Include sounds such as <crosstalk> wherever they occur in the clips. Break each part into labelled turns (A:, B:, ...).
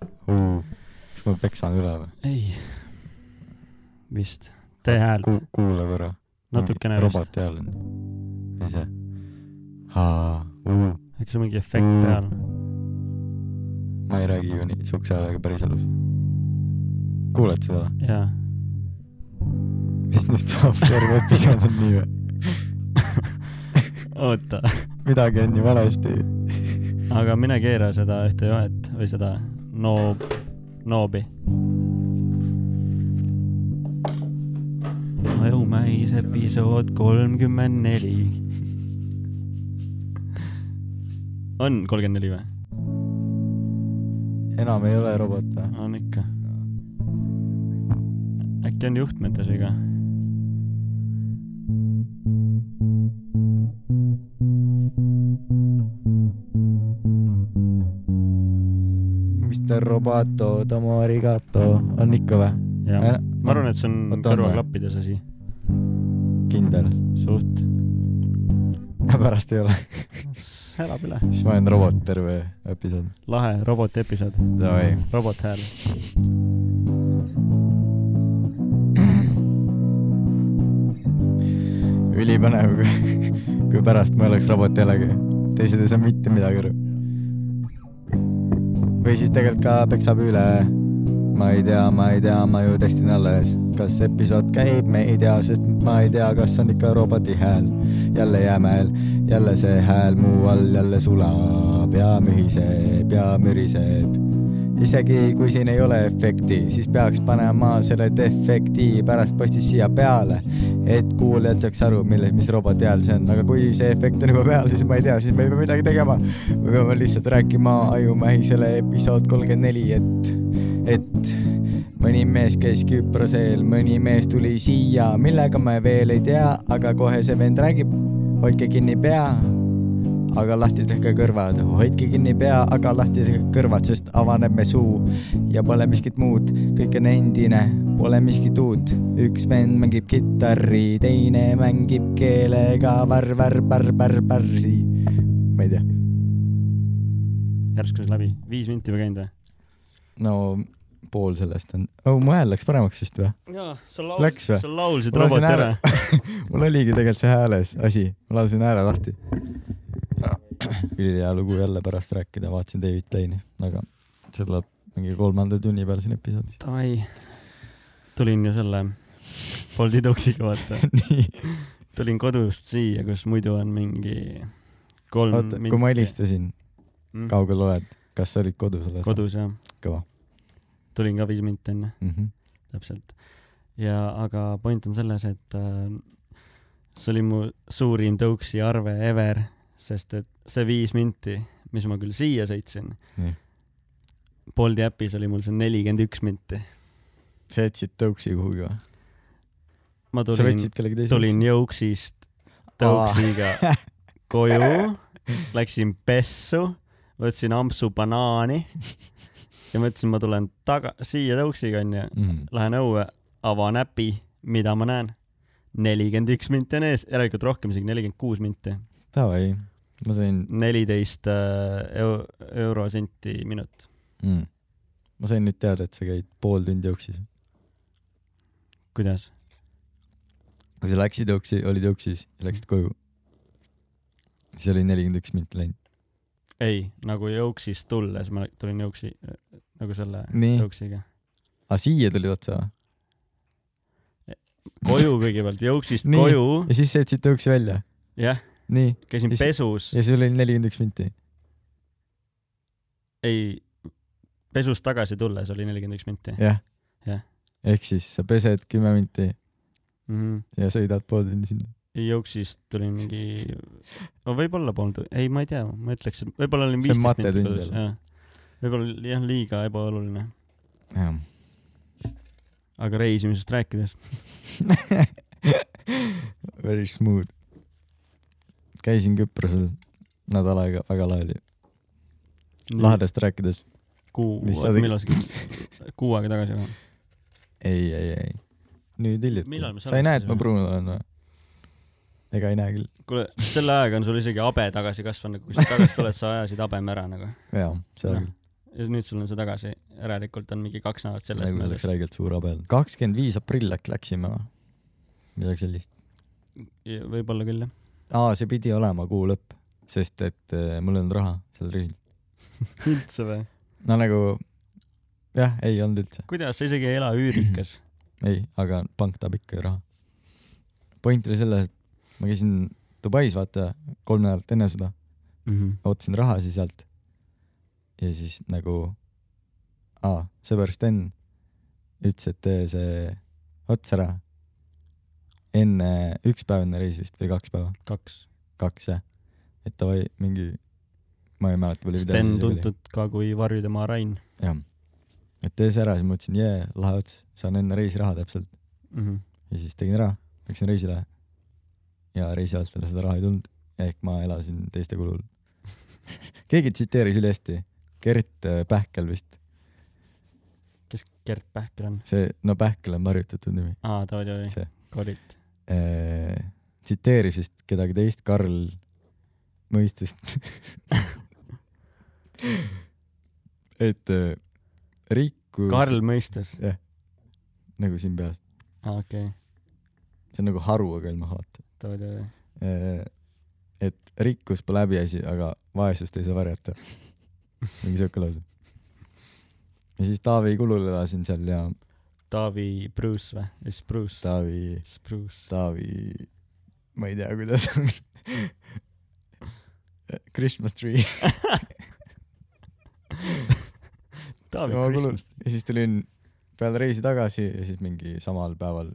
A: kas ma peksan üle või ?
B: ei , vist , tee häält ,
A: Ku- , kuula korra . Mm.
B: natukene vist ,
A: roboti hääl on . ei see . Haa , uu ,
B: äkki sul on mingi efekt
A: Mm.
B: peal .
A: ma ei räägi ju nii siukse häälega päriselus . kuuled seda ?
B: <laughs> jaa ,
A: mis nüüd saab , terve episood on nii või ?
B: oota ,
A: midagi on ju valesti .
B: aga mine keera seda ühte joet või seda noob , noobi . ajumäis episood kolmkümmend neli . on kolmkümmend neli või ?
A: enam ei ole robot või ?
B: on ikka . äkki on juhtmetes viga ?
A: Mr Roboto , Tomo Arigato on ikka või ?
B: jaa , ma arvan , et see on
A: Oota, on või?
B: kõrvaklappides asi ,
A: et kindel .
B: suht .
A: pärast ei ole ,
B: elab üle .
A: siis ma olen robot terve episood .
B: lahe roboti episood ,
A: Davai .
B: robot hääl .
A: ülipõnev , kui , kui pärast ma oleks robot jällegi . teised ei saa mitte midagi aru . või siis tegelikult ka peksab üle . ma ei tea , ma ei tea , ma ju testin alles . kas episood käib , me ei tea , sest ma ei tea , kas on ikka roboti hääl . jälle jäämäel , jälle see hääl muu all jälle sulab ja mühiseb ja müriseb isegi kui siin ei ole efekti , siis peaks panema selle defekti pärast postis siia peale , et kuulajad saaks aru , milles , mis roboti hääl see on , aga kui see efekt on juba peal , siis ma ei tea , siis me ei pea midagi tegema . me peame lihtsalt rääkima Ajumähisele episood kolmkümmend neli , et , et mõni mees käis Küprosel , mõni mees tuli siia , millega me veel ei tea , aga kohe see vend räägib , hoidke kinni pea aga lahti tehke kõrvad , hoidke kinni pea , aga lahti tehke kõrvad , sest avaneb me suu ja pole miskit muud , kõik on endine , pole miskit uut . üks vend mängib kitarri , teine mängib keelega varr-varr-varr-varr-varsi . ma ei tea ,
B: järsku see läbi , viis minti juba käinud või ?
A: no pool sellest on , oh mu hääl läks paremaks vist või ?
B: jaa , sa
A: Läks või?
B: sa laulsid
A: Ma lasin
B: roboti ära
A: ära. . mul oligi tegelikult see hääles asi , ma lasin hääle lahti . ülihea lugu jälle pärast rääkida , vaatasin David Plane'i , aga see tuleb mingi kolmanda tunni peal siin episoodis .
B: davai , tulin ju selle Bolti tuksiga , vaata .
A: <laughs> nii ,
B: tulin kodust siia , kus muidu on mingi kolm
A: oota , kui ma helistasin ,
B: mm,
A: kaugel oled , kas sa olid kodus alles ?
B: kodus jah ,
A: kõva
B: tulin ka viis minti enne ,
A: mm . -hmm.
B: täpselt . ja , aga point on selles , et äh, see oli mu suurim tõuksi arve ever , sest et see viis minti , mis ma küll siia sõitsin ,
A: nii ,
B: Bolti äpis oli mul see nelikümmend üks minti .
A: sa jätsid tõuksi kuhugi või ?
B: ma
A: sa
B: tulin ,
A: võtsid kellegi teise ?
B: tulin jõuksist tõuksiga
A: <laughs>
B: koju , läksin pessu , võtsin ampsu banaani
A: <laughs>
B: ja mõtlesin , ma tulen taga , siia tõuksiga onju ,
A: mm. .
B: lähen õue , avan äpi , mida ma näen ? nelikümmend üks minti on ees , järelikult rohkem isegi , nelikümmend kuus minti ,
A: Davai , ma sain
B: neliteist eurosenti minut .
A: mm. , ma sain nüüd teada , et sa käid pool tundi jooksis .
B: kuidas ?
A: kui sa läksid joksi , olid joksis ja läksid koju , siis oli nelikümmend üks minti läinud .
B: ei , nagu jõuksist tulles ma tulin jõuksi , nagu selle
A: Nii.
B: jõuksiga .
A: aa , Ah, siia tulid otsa või ?
B: koju kõigepealt , jõuksist
A: Nii.
B: koju ,
A: ja siis sa jätsid tõuksi välja ?
B: jah ,
A: nii ,
B: käisin
A: Mis-
B: pesus
A: ja siis oli nelikümmend üks minti .
B: ei , pesust tagasi tulles oli nelikümmend üks minti
A: jah
B: Jah. .
A: ehk siis sa pesed kümme minti
B: mm . -hmm.
A: ja sõidad pool tundi sinna .
B: jooksist
A: <laughs>
B: tulin mingi , no võib-olla pool tundi , ei , ma ei tea , ma ütleks , et võib-olla olin
A: See on
B: viisteist minti
A: matetund
B: kodus ,
A: jälle.
B: jah . võib-olla oli jah , liiga ebaoluline ,
A: jah
B: aga reisimisest rääkides ,
A: <laughs> Very smooth . käisin Küprosel nädal aega , väga lahe oli . lahedast rääkides .
B: kuu ,
A: mis sa tegid?
B: millal see , kuu aega tagasi või ?
A: ei , ei , ei . nüüd hiljuti
B: Millal me .
A: sa ei näe , et
B: salvestasime?
A: ma pruun olen või ? ega ei näe küll .
B: kuule , selle ajaga on sul isegi habe tagasi kasvanud , kui sa tagasi tuled , sa ajasid habeme ära nagu .
A: jaa , seda küll .
B: ja nüüd sul on see tagasi järelikult on mingi kaks nädalat selles
A: praegu see
B: mõttes
A: läks . nagu räigelt suure peale . kakskümmend viis aprill äkki läksime või ? midagi sellist .
B: võib-olla küll jah .
A: aa , see pidi olema kuu lõpp , sest et äh, mul ei olnud raha seal reisil .
B: üldse või ?
A: no nagu jah , ei olnud üldse ,
B: kuidas , sa isegi ei ela üürikas .
A: ei , aga pank tahab ikka ju raha . point oli selles , et ma käisin Dubais vaata kolm nädalat enne seda , Mhm. ootasin raha siis sealt . ja siis nagu , aa , sõber Sten ütles , et tee see ots ära enne üks päev enne reisi vist või kaks päeva ,
B: kaks .
A: kaks jah . et davai mingi , ma ei mäleta palju .
B: Sten . tuntud ka kui Varjudemaa Rain
A: jah , et tee see ära , siis ma mõtlesin , jee , lahe ots , saan enne reisiraha täpselt
B: mm . -hmm.
A: ja siis tegin ära , läksin reisile . ja reisi ajal talle seda raha ei tulnud , ehk ma elasin teiste kulul . <laughs> keegi tsiteeris ülihästi , Gert äh, Pähkel vist ,
B: kes Gert Pähkel on ?
A: see , no Pähkel on marjutatud nimi .
B: aa , davai ,
A: See.
B: davai , kolit .
A: tsiteeris vist kedagi teist , Karl mõistest . <laughs> et äh, rikkus
B: Karl mõistes .
A: nagu siin peas ,
B: aa , okei okay. ,
A: see on nagu haru , aga ilma haata .
B: davai , davai .
A: Äh, et rikkus pole häbiasi , aga vaesust ei saa varjata . mingi siuke lause . ja siis Taavi kulul elasin seal ja
B: Taavi Bruce või ? siis Bruce .
A: Taavi ,
B: siis Bruce .
A: Taavi , ma ei tea , kuidas on . Christmas tree .
B: Taavi
A: Jumala kulul.
B: Christmas .
A: ja siis tulin peale reisi tagasi ja siis mingi samal päeval ,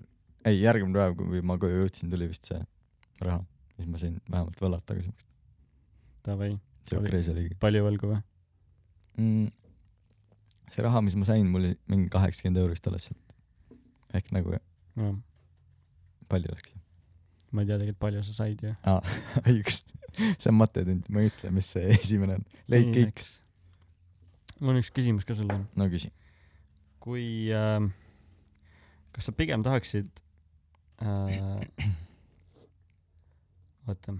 A: ei järgmine päev , kui ma koju jõudsin , tuli vist see raha . siis ma sain vähemalt võllad tagasi maksta .
B: davai , Oli-
A: siuke reis oligi .
B: palju võlgu või ?
A: mm, . see raha , mis ma sain , mul oli mingi kaheksakümmend eurist alles sealt . ehk nagu
B: jah ,
A: palju läks .
B: ma ei tea tegelikult , palju sa said ju .
A: <laughs> õigus , see on matetund , ma ei ütle , mis see <laughs> esimene on . leidke X ,.
B: mul on üks küsimus ka sulle .
A: no küsi .
B: kui äh, , kas sa pigem tahaksid äh, , oota ,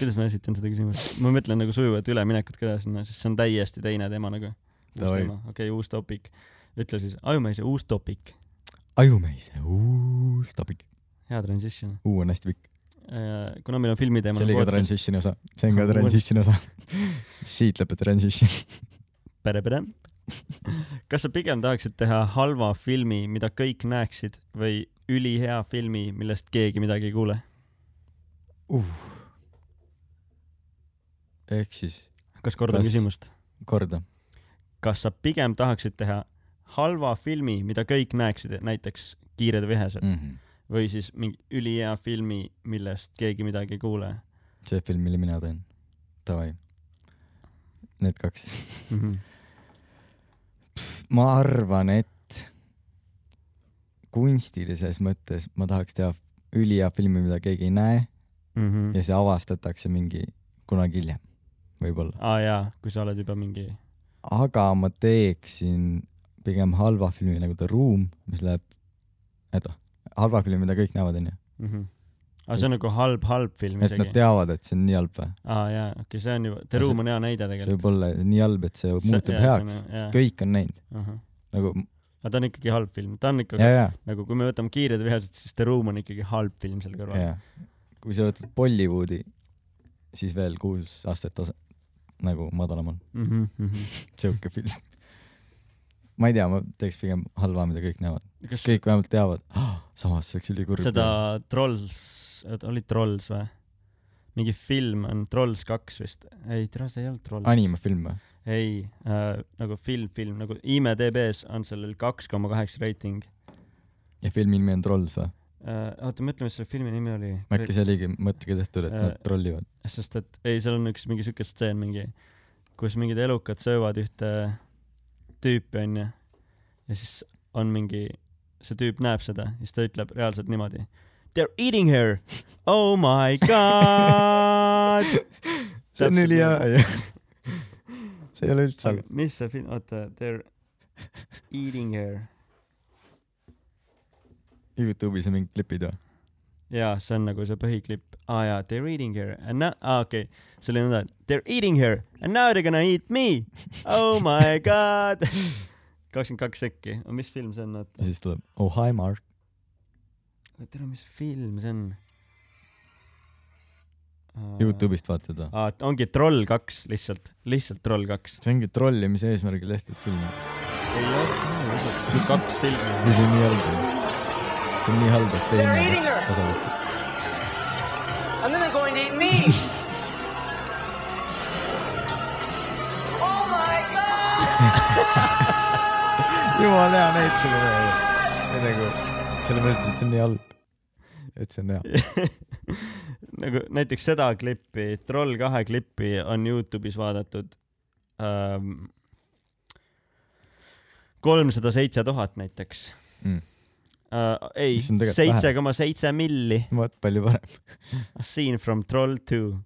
B: kuidas ma esitan seda küsimust , ma mõtlen nagu sujuvat üleminekut ka sinna , sest see on täiesti teine teema nagu . uus
A: Davai.
B: teema , okei okay, , uus topik . ütle siis , ajumeise uus topik .
A: ajumeise uus topik ,
B: hea transition
A: U on hästi pikk ,
B: äh, . kuna meil on filmi teema . nagu
A: see oli ka transition'i osa , see on ka transition'i osa . <laughs> siit lõpeb transition . <laughs>
B: pere , pere . kas sa pigem tahaksid teha halva filmi , mida kõik näeksid või ülihea filmi , millest keegi midagi ei kuule ?
A: ehk siis
B: kas kordan
A: Kas-
B: küsimust ?
A: korda ,
B: kas sa pigem tahaksid teha halva filmi , mida kõik näeksid , näiteks Kiired ja vihesed
A: mm -hmm.
B: või siis mingi ülihea filmi , millest keegi midagi ei kuule
A: see film , mille mina teen . Davai . Need kaks .
B: mm ? -hmm.
A: ma arvan , et kunstilises mõttes ma tahaks teha ülihea filmi , mida keegi ei näe
B: Mm -hmm.
A: ja see avastatakse mingi kunagi hiljem , võib-olla .
B: aa ah, jaa , kui sa oled juba mingi ,
A: aga ma teeksin pigem halva filmi nagu The Room , mis läheb , oota , halva filmi , mida kõik näevad , onju .
B: aga see on nagu halb , halb film
A: Mhm. et nad
B: isegi .
A: teavad , et see on nii halb või ?
B: aa jaa , okei okay, , see on juba , The
A: Ja see-
B: Room on hea
A: see
B: näide tegelikult .
A: võib olla nii halb , et see
B: See-
A: muutub
B: jaa, see on-
A: heaks ,
B: jaa.
A: sest kõik on näinud .
B: aga
A: nagu ,
B: ta on ikkagi halb film , ta on ikkagi
A: ja , ja ,
B: nagu kui me võtame Kiired ja vihased , siis The Room on ikkagi halb film seal kõrval .
A: ja . kui sa võtad Bollywoodi , siis veel kuus astet tase , nagu madalam on .
B: Mm -hmm.
A: sihuke film . ma ei tea , ma teeks pigem halva , mida kõik näevad .
B: kas
A: kas kõik vähemalt teavad oh, ? samas , see oleks ülikurb .
B: seda Trolls , oli Trolls või ? mingi film on Trolls kaks vist , ei Trolls ei olnud Trolls .
A: animafilm või ?
B: ei äh, , nagu film , film nagu IMDB-s on sellel kaks koma kaheksa reiting
A: ja filmi nimi on Trolls või ?
B: äh, . oota , mõtle , mis selle filmi nimi oli
A: äkki . see oligi mõttega tehtud , et
B: Äh,
A: nad trollivad .
B: sest et ei , seal on üks mingi siuke stseen mingi , kus mingid elukad söövad ühte tüüpi onju ja siis on mingi , see tüüp näeb seda ja siis ta ütleb reaalselt niimoodi . They are eating her , oh my god .
A: <laughs> see on
B: Täpselt
A: ülihea
B: nii.
A: ju . see ei ole üldse halb .
B: mis see film , oota , They are eating her ,
A: Youtube'is on mingid klipid või ?
B: jaa , see on nagu see põhiklipp . aa jaa , they are eating her and now , aa okei okay. , see oli nõnda , they are eating her and now they are gonna eat me . Oh my god . kakskümmend kaks sekki , mis film see on ,
A: ja
B: oota .
A: siis tuleb Oh hi Mark .
B: tere , mis film see on ?
A: Youtube'ist vaatad või ?
B: aa , Ah, ongi Troll kaks lihtsalt , lihtsalt Troll kaks .
A: see ongi trollimise eesmärgil tehtud film .
B: ei ole , lihtsalt kaks filmi .
A: või see on nii halb ? see on nii halb , et
C: They're eating
A: teine
C: her.
A: osa võtab .
C: And then they're going to eat me. oh my god!
A: jumala hea näitlemine . see nagu , sellepärast , et see on nii halb . et see on <laughs> hea .
B: nagu näiteks seda klippi , Troll kahe klippi on Youtube'is vaadatud ähm, kolmsada seitse tuhat näiteks
A: Mm.
B: uh, . ei
A: Mis on , tegelikult
B: seitse koma seitse milli .
A: vaat palju parem .
B: A scene from Troll two .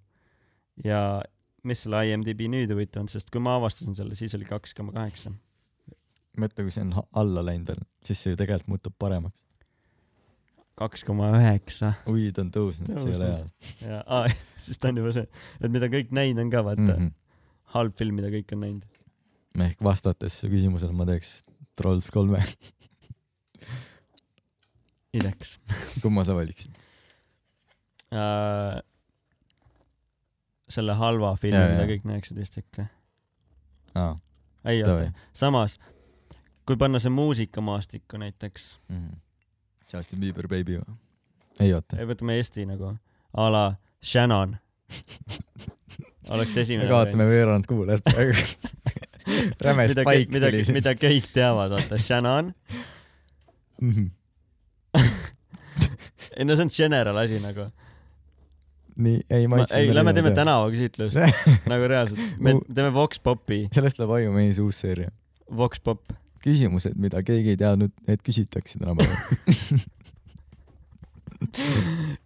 B: ja mis selle IMDB nüüd huvitav on , sest kui ma avastasin selle , siis oli kaks koma kaheksa .
A: mõtle , kui see on ha- alla läinud on , siis see ju tegelikult muutub paremaks .
B: kaks koma üheksa
A: ui , ta on tõusnud , see ei ole hea .
B: ja ah, <laughs> siis ta on juba see , et mida kõik näinud on ka vaata mm , -hmm.
A: Mm
B: halb film , mida kõik on näinud .
A: -hmm. ehk vastates su küsimusele ma teeks Trolls kolme , <laughs>
B: ideks .
A: kumma sa valiksid ?
B: Äh, selle halva filmi
A: Jaa, ,
B: mida
A: jaa.
B: kõik näeksid vist ikka .
A: aa ,
B: ei
A: davai
B: oota ,. samas kui panna see muusikamaastikku näiteks ,
A: Justin Bieber , Baby või ? Mhm. ei oota .
B: võtame Eesti nagu a la
A: <laughs>
B: Shannon oleks
A: me
B: esimene .
A: kaotame veerand kuulajat praegu . <laughs> räme
B: mida,
A: spike
B: mida,
A: tuli siin .
B: mida kõik teavad , vaata Shannon ,
A: Mhm.
B: ei no see on general asi nagu .
A: nii , ei ma ütlesin .
B: ei , lähme teeme .
A: <laughs>
B: tänavaküsitlust nagu reaalselt , me
A: Mu-
B: teeme Vox Popi ,
A: sellest läheb Aju Mees uus seeria .
B: Vox Pop ,
A: küsimused , mida keegi ei teadnud , need küsitakse
B: <laughs>
A: tänapäeval .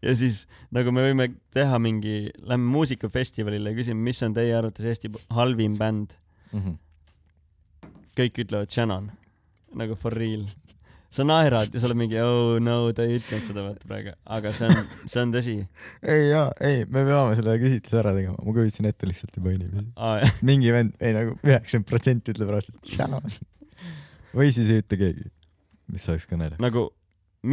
B: ja siis nagu me võime teha mingi , lähme muusikafestivalile ja küsime , mis on teie arvates Eesti halvim bänd . Mhm. kõik ütlevad Shannon , nagu for real . sa naerad ja sa oled mingi oh no ta ei ütlenud seda vaata praegu , aga see on , see on tõsi .
A: ei jaa , ei , me peame selle küsitluse ära tegema , ma kujutasin ette lihtsalt juba inimesi . mingi vend , ei nagu üheksakümmend protsenti ütleb pärast , et shana . või siis ei ütle keegi , mis oleks ka naljakas .
B: nagu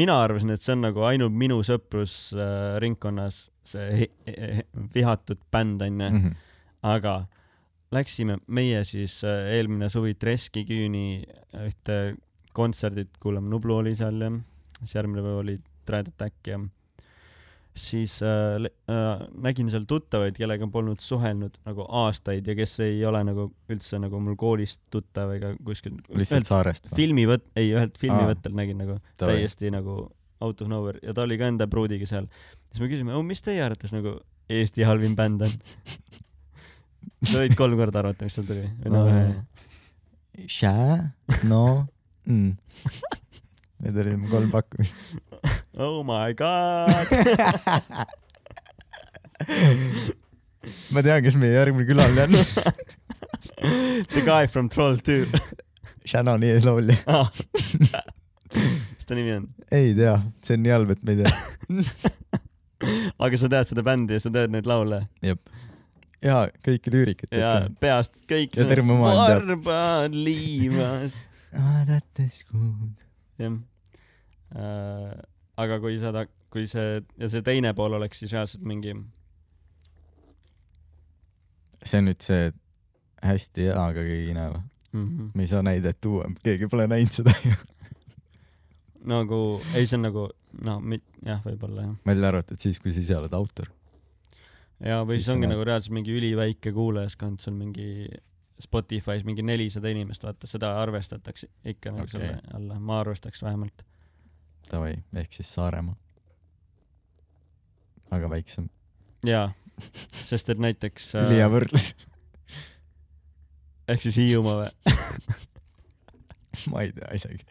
B: mina arvasin , et see on nagu ainult minu sõprusringkonnas see he- he- he- vihatud bänd onju ,
A: -hmm.
B: aga läksime meie siis äh, eelmine suvi Treski küüni äh, ühte kontserdit kuulama , Nublu oli seal ja siis järgmine päev oli Dread Attack ja siis äh, le- äh, nägin seal tuttavaid , kellega polnud suhelnud nagu aastaid ja kes ei ole nagu üldse nagu mul koolist tuttav ega kuskil .
A: lihtsalt saarest .
B: filmivõt- , ei ühelt
A: Aa.
B: filmivõttel nägin nagu
A: Davai.
B: täiesti nagu out of nowhere ja ta oli ka enda pruudiga seal . siis me küsisime , mis teie arvates nagu Eesti halvim bänd
A: <laughs>
B: on ? sa võid kolm korda arvata , mis seal tuli . või nagu, no
A: Aa.
B: ühe .
A: Shä- , no mm. , need olid mu kolm pakkumist .
B: Oh my
A: <laughs>
B: god ,
A: ma tean , kes meie järgmine külaline on .
B: <laughs> the guy from Troll two . <laughs>
A: Shannoni ees laulja .
B: mis ta nimi on ?
A: ei tea , see on nii halb , et ma ei tea .
B: aga sa tead seda bändi ja sa tead neid laule
A: jaa , kõiki lüürikat
B: ja . peast kõik .
A: Ja terve maailm teab.
B: varba on liivas .
A: vaadates kuud .
B: jah . aga kui sa ta- , kui see ja see teine pool oleks siis reaalselt mingi ,
A: see on nüüd see hästi hea , aga keegi ei näe või ? me ei saa näidet tuua , keegi pole näinud seda <laughs> ju .
B: nagu , ei see on nagu , no mi- jah , võib-olla jah .
A: välja arvatud siis , kui sa ise oled autor .
B: ja või
A: Siis
B: siis
A: sa
B: ongi
A: näed.
B: nagu reaalselt mingi üliväike kuulajaskond , sul mingi Spotify's mingi nelisada inimest , vaata seda arvestatakse ikka nagu
A: Okei.
B: okay. selle alla , ma arvestaks vähemalt .
A: Davai , ehk siis Saaremaa . aga väiksem . <laughs>
B: jaa , sest et näiteks
A: ülihea
B: äh,
A: võrdlus . <laughs>
B: ehk siis Hiiumaa või ?
A: ma ei tea isegi ,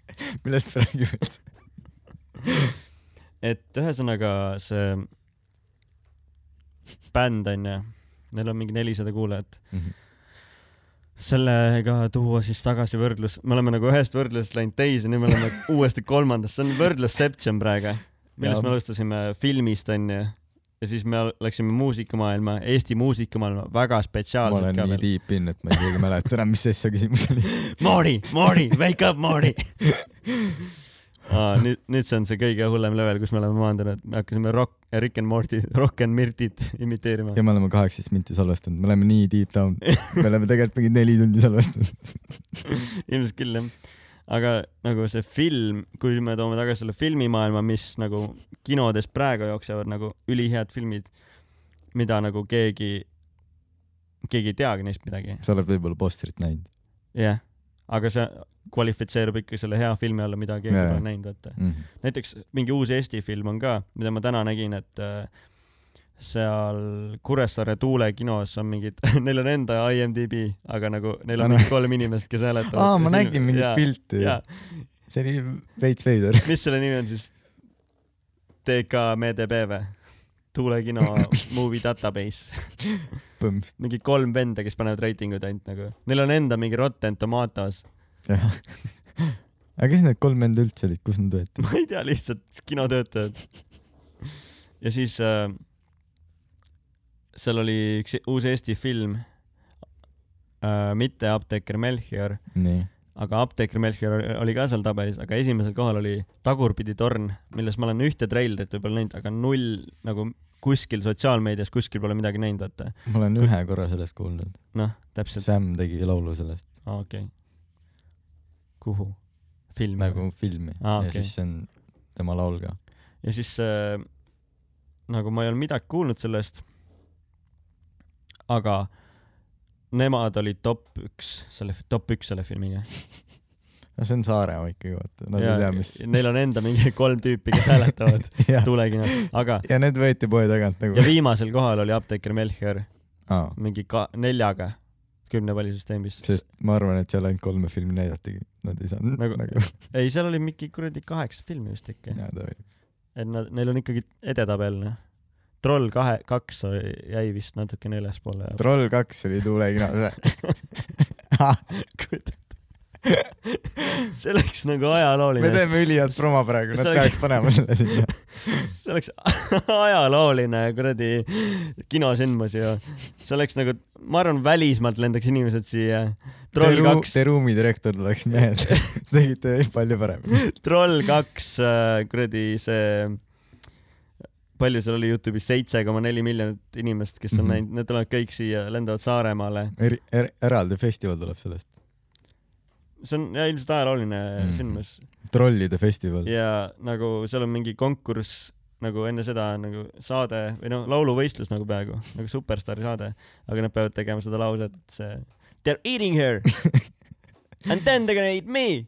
A: millest me räägime üldse .
B: et ühesõnaga see bänd onju , neil on mingi nelisada kuulajat , sellega tuua siis tagasi
A: <laughs>
B: võrdlus , me oleme nagu ühest võrdlusest läinud teise , nüüd me oleme uuesti kolmandas , see on võrdlus Septšem praegu . millest
A: Ja-
B: me alustasime filmist onju ja siis me läksime muusikamaailma , Eesti muusikamaailma väga
A: ma
B: spetsiaalselt
A: olen
B: ka
A: nii
B: veel .
A: deep in , et ma ei isegi mäleta enam , mis asja küsimus oli .
B: <laughs> Mori , Mori , wake up ,
A: <laughs>
B: Mori Aa, nüüd , nüüd see on see kõige hullem level , kus me oleme maandunud , me hakkasime Rock , Rick and Morty , <laughs> Rock and Mirtit imiteerima .
A: ja me oleme kaheksateist minti salvestanud , me oleme nii deep
B: <laughs>
A: down , me oleme tegelikult mingi neli tundi salvestanud .
B: ilmselt küll jah . aga nagu see film , kui me toome tagasi selle filmimaailma , mis nagu kinodes praegu jooksevad nagu ülihead filmid , mida nagu keegi , keegi ei teagi neist midagi ,
A: sa oled võib-olla postrit näinud
B: jah . aga see kvalifitseerub ikka selle hea filmi alla , mida keegi
A: Jaa.
B: pole näinud , vaata .
A: mm .
B: näiteks mingi uus Eesti film on ka , mida ma täna nägin , et äh, seal Kuressaare tuulekinos on mingid , <laughs> neil on enda IMDB , aga nagu neil on
A: Täna-
B: mingi kolm inimest , kes hääletavad .
A: aa , ma nägin mingit pilti .
B: jaa ,
A: see oli veits veider .
B: mis selle nimi on siis ? TKMDB või ?
A: <laughs>
B: tuulekino movie database .
A: põmps .
B: mingi kolm venda , kes panevad reitingud ainult nagu . Neil on enda mingi Rotten Tomatoes .
A: jah . <laughs> aga kes need kolm venda üldse olid , kus nad võeti ?
B: ma ei tea , lihtsalt kinotöötajad . ja siis äh, seal oli üks uus Eesti film äh, . mitte Apteeker Melchior ,
A: nii .
B: aga Apteeker Melchior oli ka seal tabelis , aga esimesel kohal oli Tagurpidi torn , milles ma olen ühte treilerit võib-olla näinud , aga null nagu kuskil sotsiaalmeedias kuskil pole midagi näinud , vaata .
A: ma olen ühe korra sellest kuulnud .
B: noh , täpselt ,
A: Sam tegi laulu sellest
B: okei okay. . kuhu ? filmi ?
A: nagu filmi
B: Aa,
A: ja
B: okei.
A: siis see on tema laul ka .
B: ja siis äh, nagu ma ei olnud midagi kuulnud sellest . aga nemad olid top üks selle , top üks selle filmiga .
A: no see on Saaremaa ikkagi vaata , nad ei tea , mis .
B: Neil on enda mingi <laughs> kolm tüüpi , kes
A: <laughs>
B: hääletavad
A: jah ,
B: tuulekina , aga
A: ja need võeti poe tagant
B: ja
A: nagu .
B: viimasel kohal oli apteeker Melchior
A: aa ,
B: mingi ka neljaga kümne pallisüsteemis .
A: sest ma arvan , et seal ainult kolme filmi näidatigi , nad ei saanud
B: Nagu-
A: nagu, nagu <laughs>
B: ei , seal oli mingi kuradi kaheksa filmi vist ikka .
A: jääda veel .
B: et nad , neil on ikkagi edetabel , noh . troll kahe , kaks oli- jäi vist natukene ülespoole .
A: troll kaks oli tuulekinos .
B: <laughs> see läks nagu ajalooline
A: me , teeme ülihead promo praegu , nad
B: See oleks-
A: peaks panema selle sinna .
B: see läks <laughs> ajalooline kuradi kinosündmus ju . see läks nagu , ma arvan , välismaalt lendaks inimesed siia . troll kaks
A: Te , ruumidirektor oleks mees , <laughs> tegite palju paremini .
B: troll kaks , kuradi see , palju seal oli Youtube'is , seitse koma neli miljonit inimest , kes on
A: Mhm.
B: näinud , need tulevad kõik siia , lendavad Saaremaale .
A: er, er, eraldi festival tuleb sellest ,
B: see on jah, ilmselt ajalooline
A: Mhm.
B: sündmus
A: trollide festival .
B: ja nagu seal on mingi konkurss nagu enne seda on nagu saade või noh , lauluvõistlus nagu peaaegu nagu Superstaari saade , aga nad peavad tegema seda lauset , see They are eating <laughs> her and then they are gonna eat me .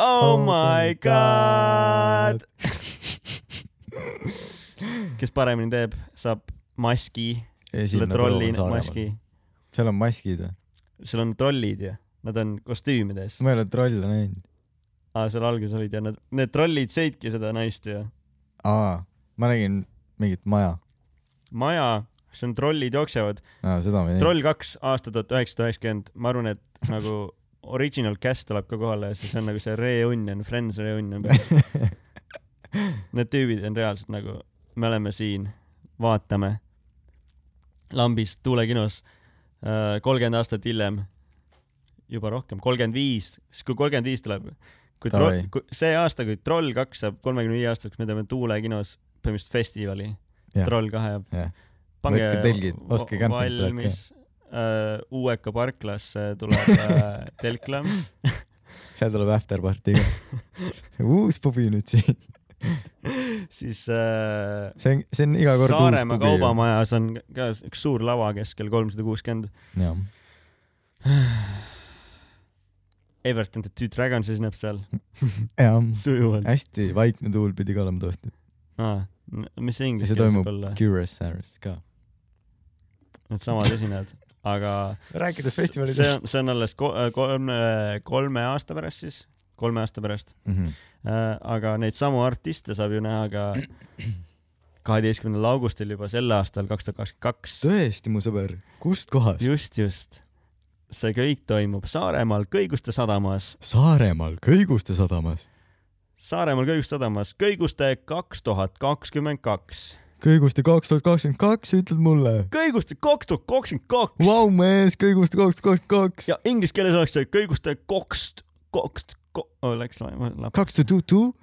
B: Oh, oh my
A: <laughs>
B: god, god. . kes paremini teeb , saab maski , selle trolli maski ,
A: seal on maskid või ?
B: seal on trollid ju , nad on kostüümides .
A: ma ei ole trolle näinud .
B: aa , seal alguses olid ja nad , need trollid sõitki seda naist ju .
A: aa , ma nägin mingit maja .
B: maja , see on trollid jooksevad ,
A: aa , seda ma ei näinud .
B: Troll kaks aasta tuhat üheksasada üheksakümmend , ma arvan , et
A: <laughs>
B: nagu original cast tuleb ka kohale ja siis on nagu see reunion , friends reunion . <laughs> Need tüübid on reaalselt nagu , me oleme siin , vaatame lambis tuulekinos äh, kolmkümmend aastat hiljem , juba rohkem , kolmkümmend viis , siis kui kolmkümmend viis tuleb , kui troll
A: Davai. ,
B: see aasta , kui Troll kaks saab kolmekümne viie aastaseks , me teeme tuulekinos põhimõtteliselt festivali ,
A: Jah.
B: Troll kahe
A: Jah.
B: pange
A: Võtke telgid, ostke
B: va-
A: camping plate,
B: valmis äh, Uueka parklasse tuleb
A: <laughs>
B: äh, telkla ,
A: seal tuleb afterparty
B: <laughs>
A: ka . uus pubi nüüd siin .
B: siis äh,
A: see on , see on iga kord uus
B: Saaremaa
A: pubi .
B: kaubamajas on ka üks suur lava keskel , kolmsada kuuskümmend .
A: jah ,
B: Everton the Two Dragons esineb seal
A: Mm. jah .
B: sujuvalt
A: hästi vaikne tuul pidi ka olema tõesti .
B: ah, . mis see
A: ja
B: inglise
A: see
B: keeles
A: toimub
B: võib olla ,
A: Curiousaires ka .
B: needsamad esinejad , aga
A: <laughs> rääkides
B: see
A: festivalidest .
B: on , see on alles ko- kolme , kolme aasta pärast siis , kolme aasta pärast .
A: Mhm.
B: äh, aga neid samu artiste saab ju näha ka kaheteistkümnendal augustil juba sel aastal , kaks tuhat kakskümmend kaks .
A: tõesti , mu sõber , kust kohast ?
B: just , just . see kõik toimub Saaremaal Kõiguste sadamas .
A: Saaremaal Kõiguste sadamas .
B: Saaremaal Kõigustadamas Kõiguste kaks tuhat kakskümmend kaks .
A: kõiguste kaks tuhat kakskümmend kaks , ütled mulle .
B: Kõiguste kaks tuhat kakskümmend kaks .
A: Vau mees , kõiguste kaks tuhat kakskümmend kaks .
B: ja inglise keeles oleks see kõiguste kokst , kokst , ko- , oh, läks laema , lapp .
A: kaks tuhat tuhat tuhat .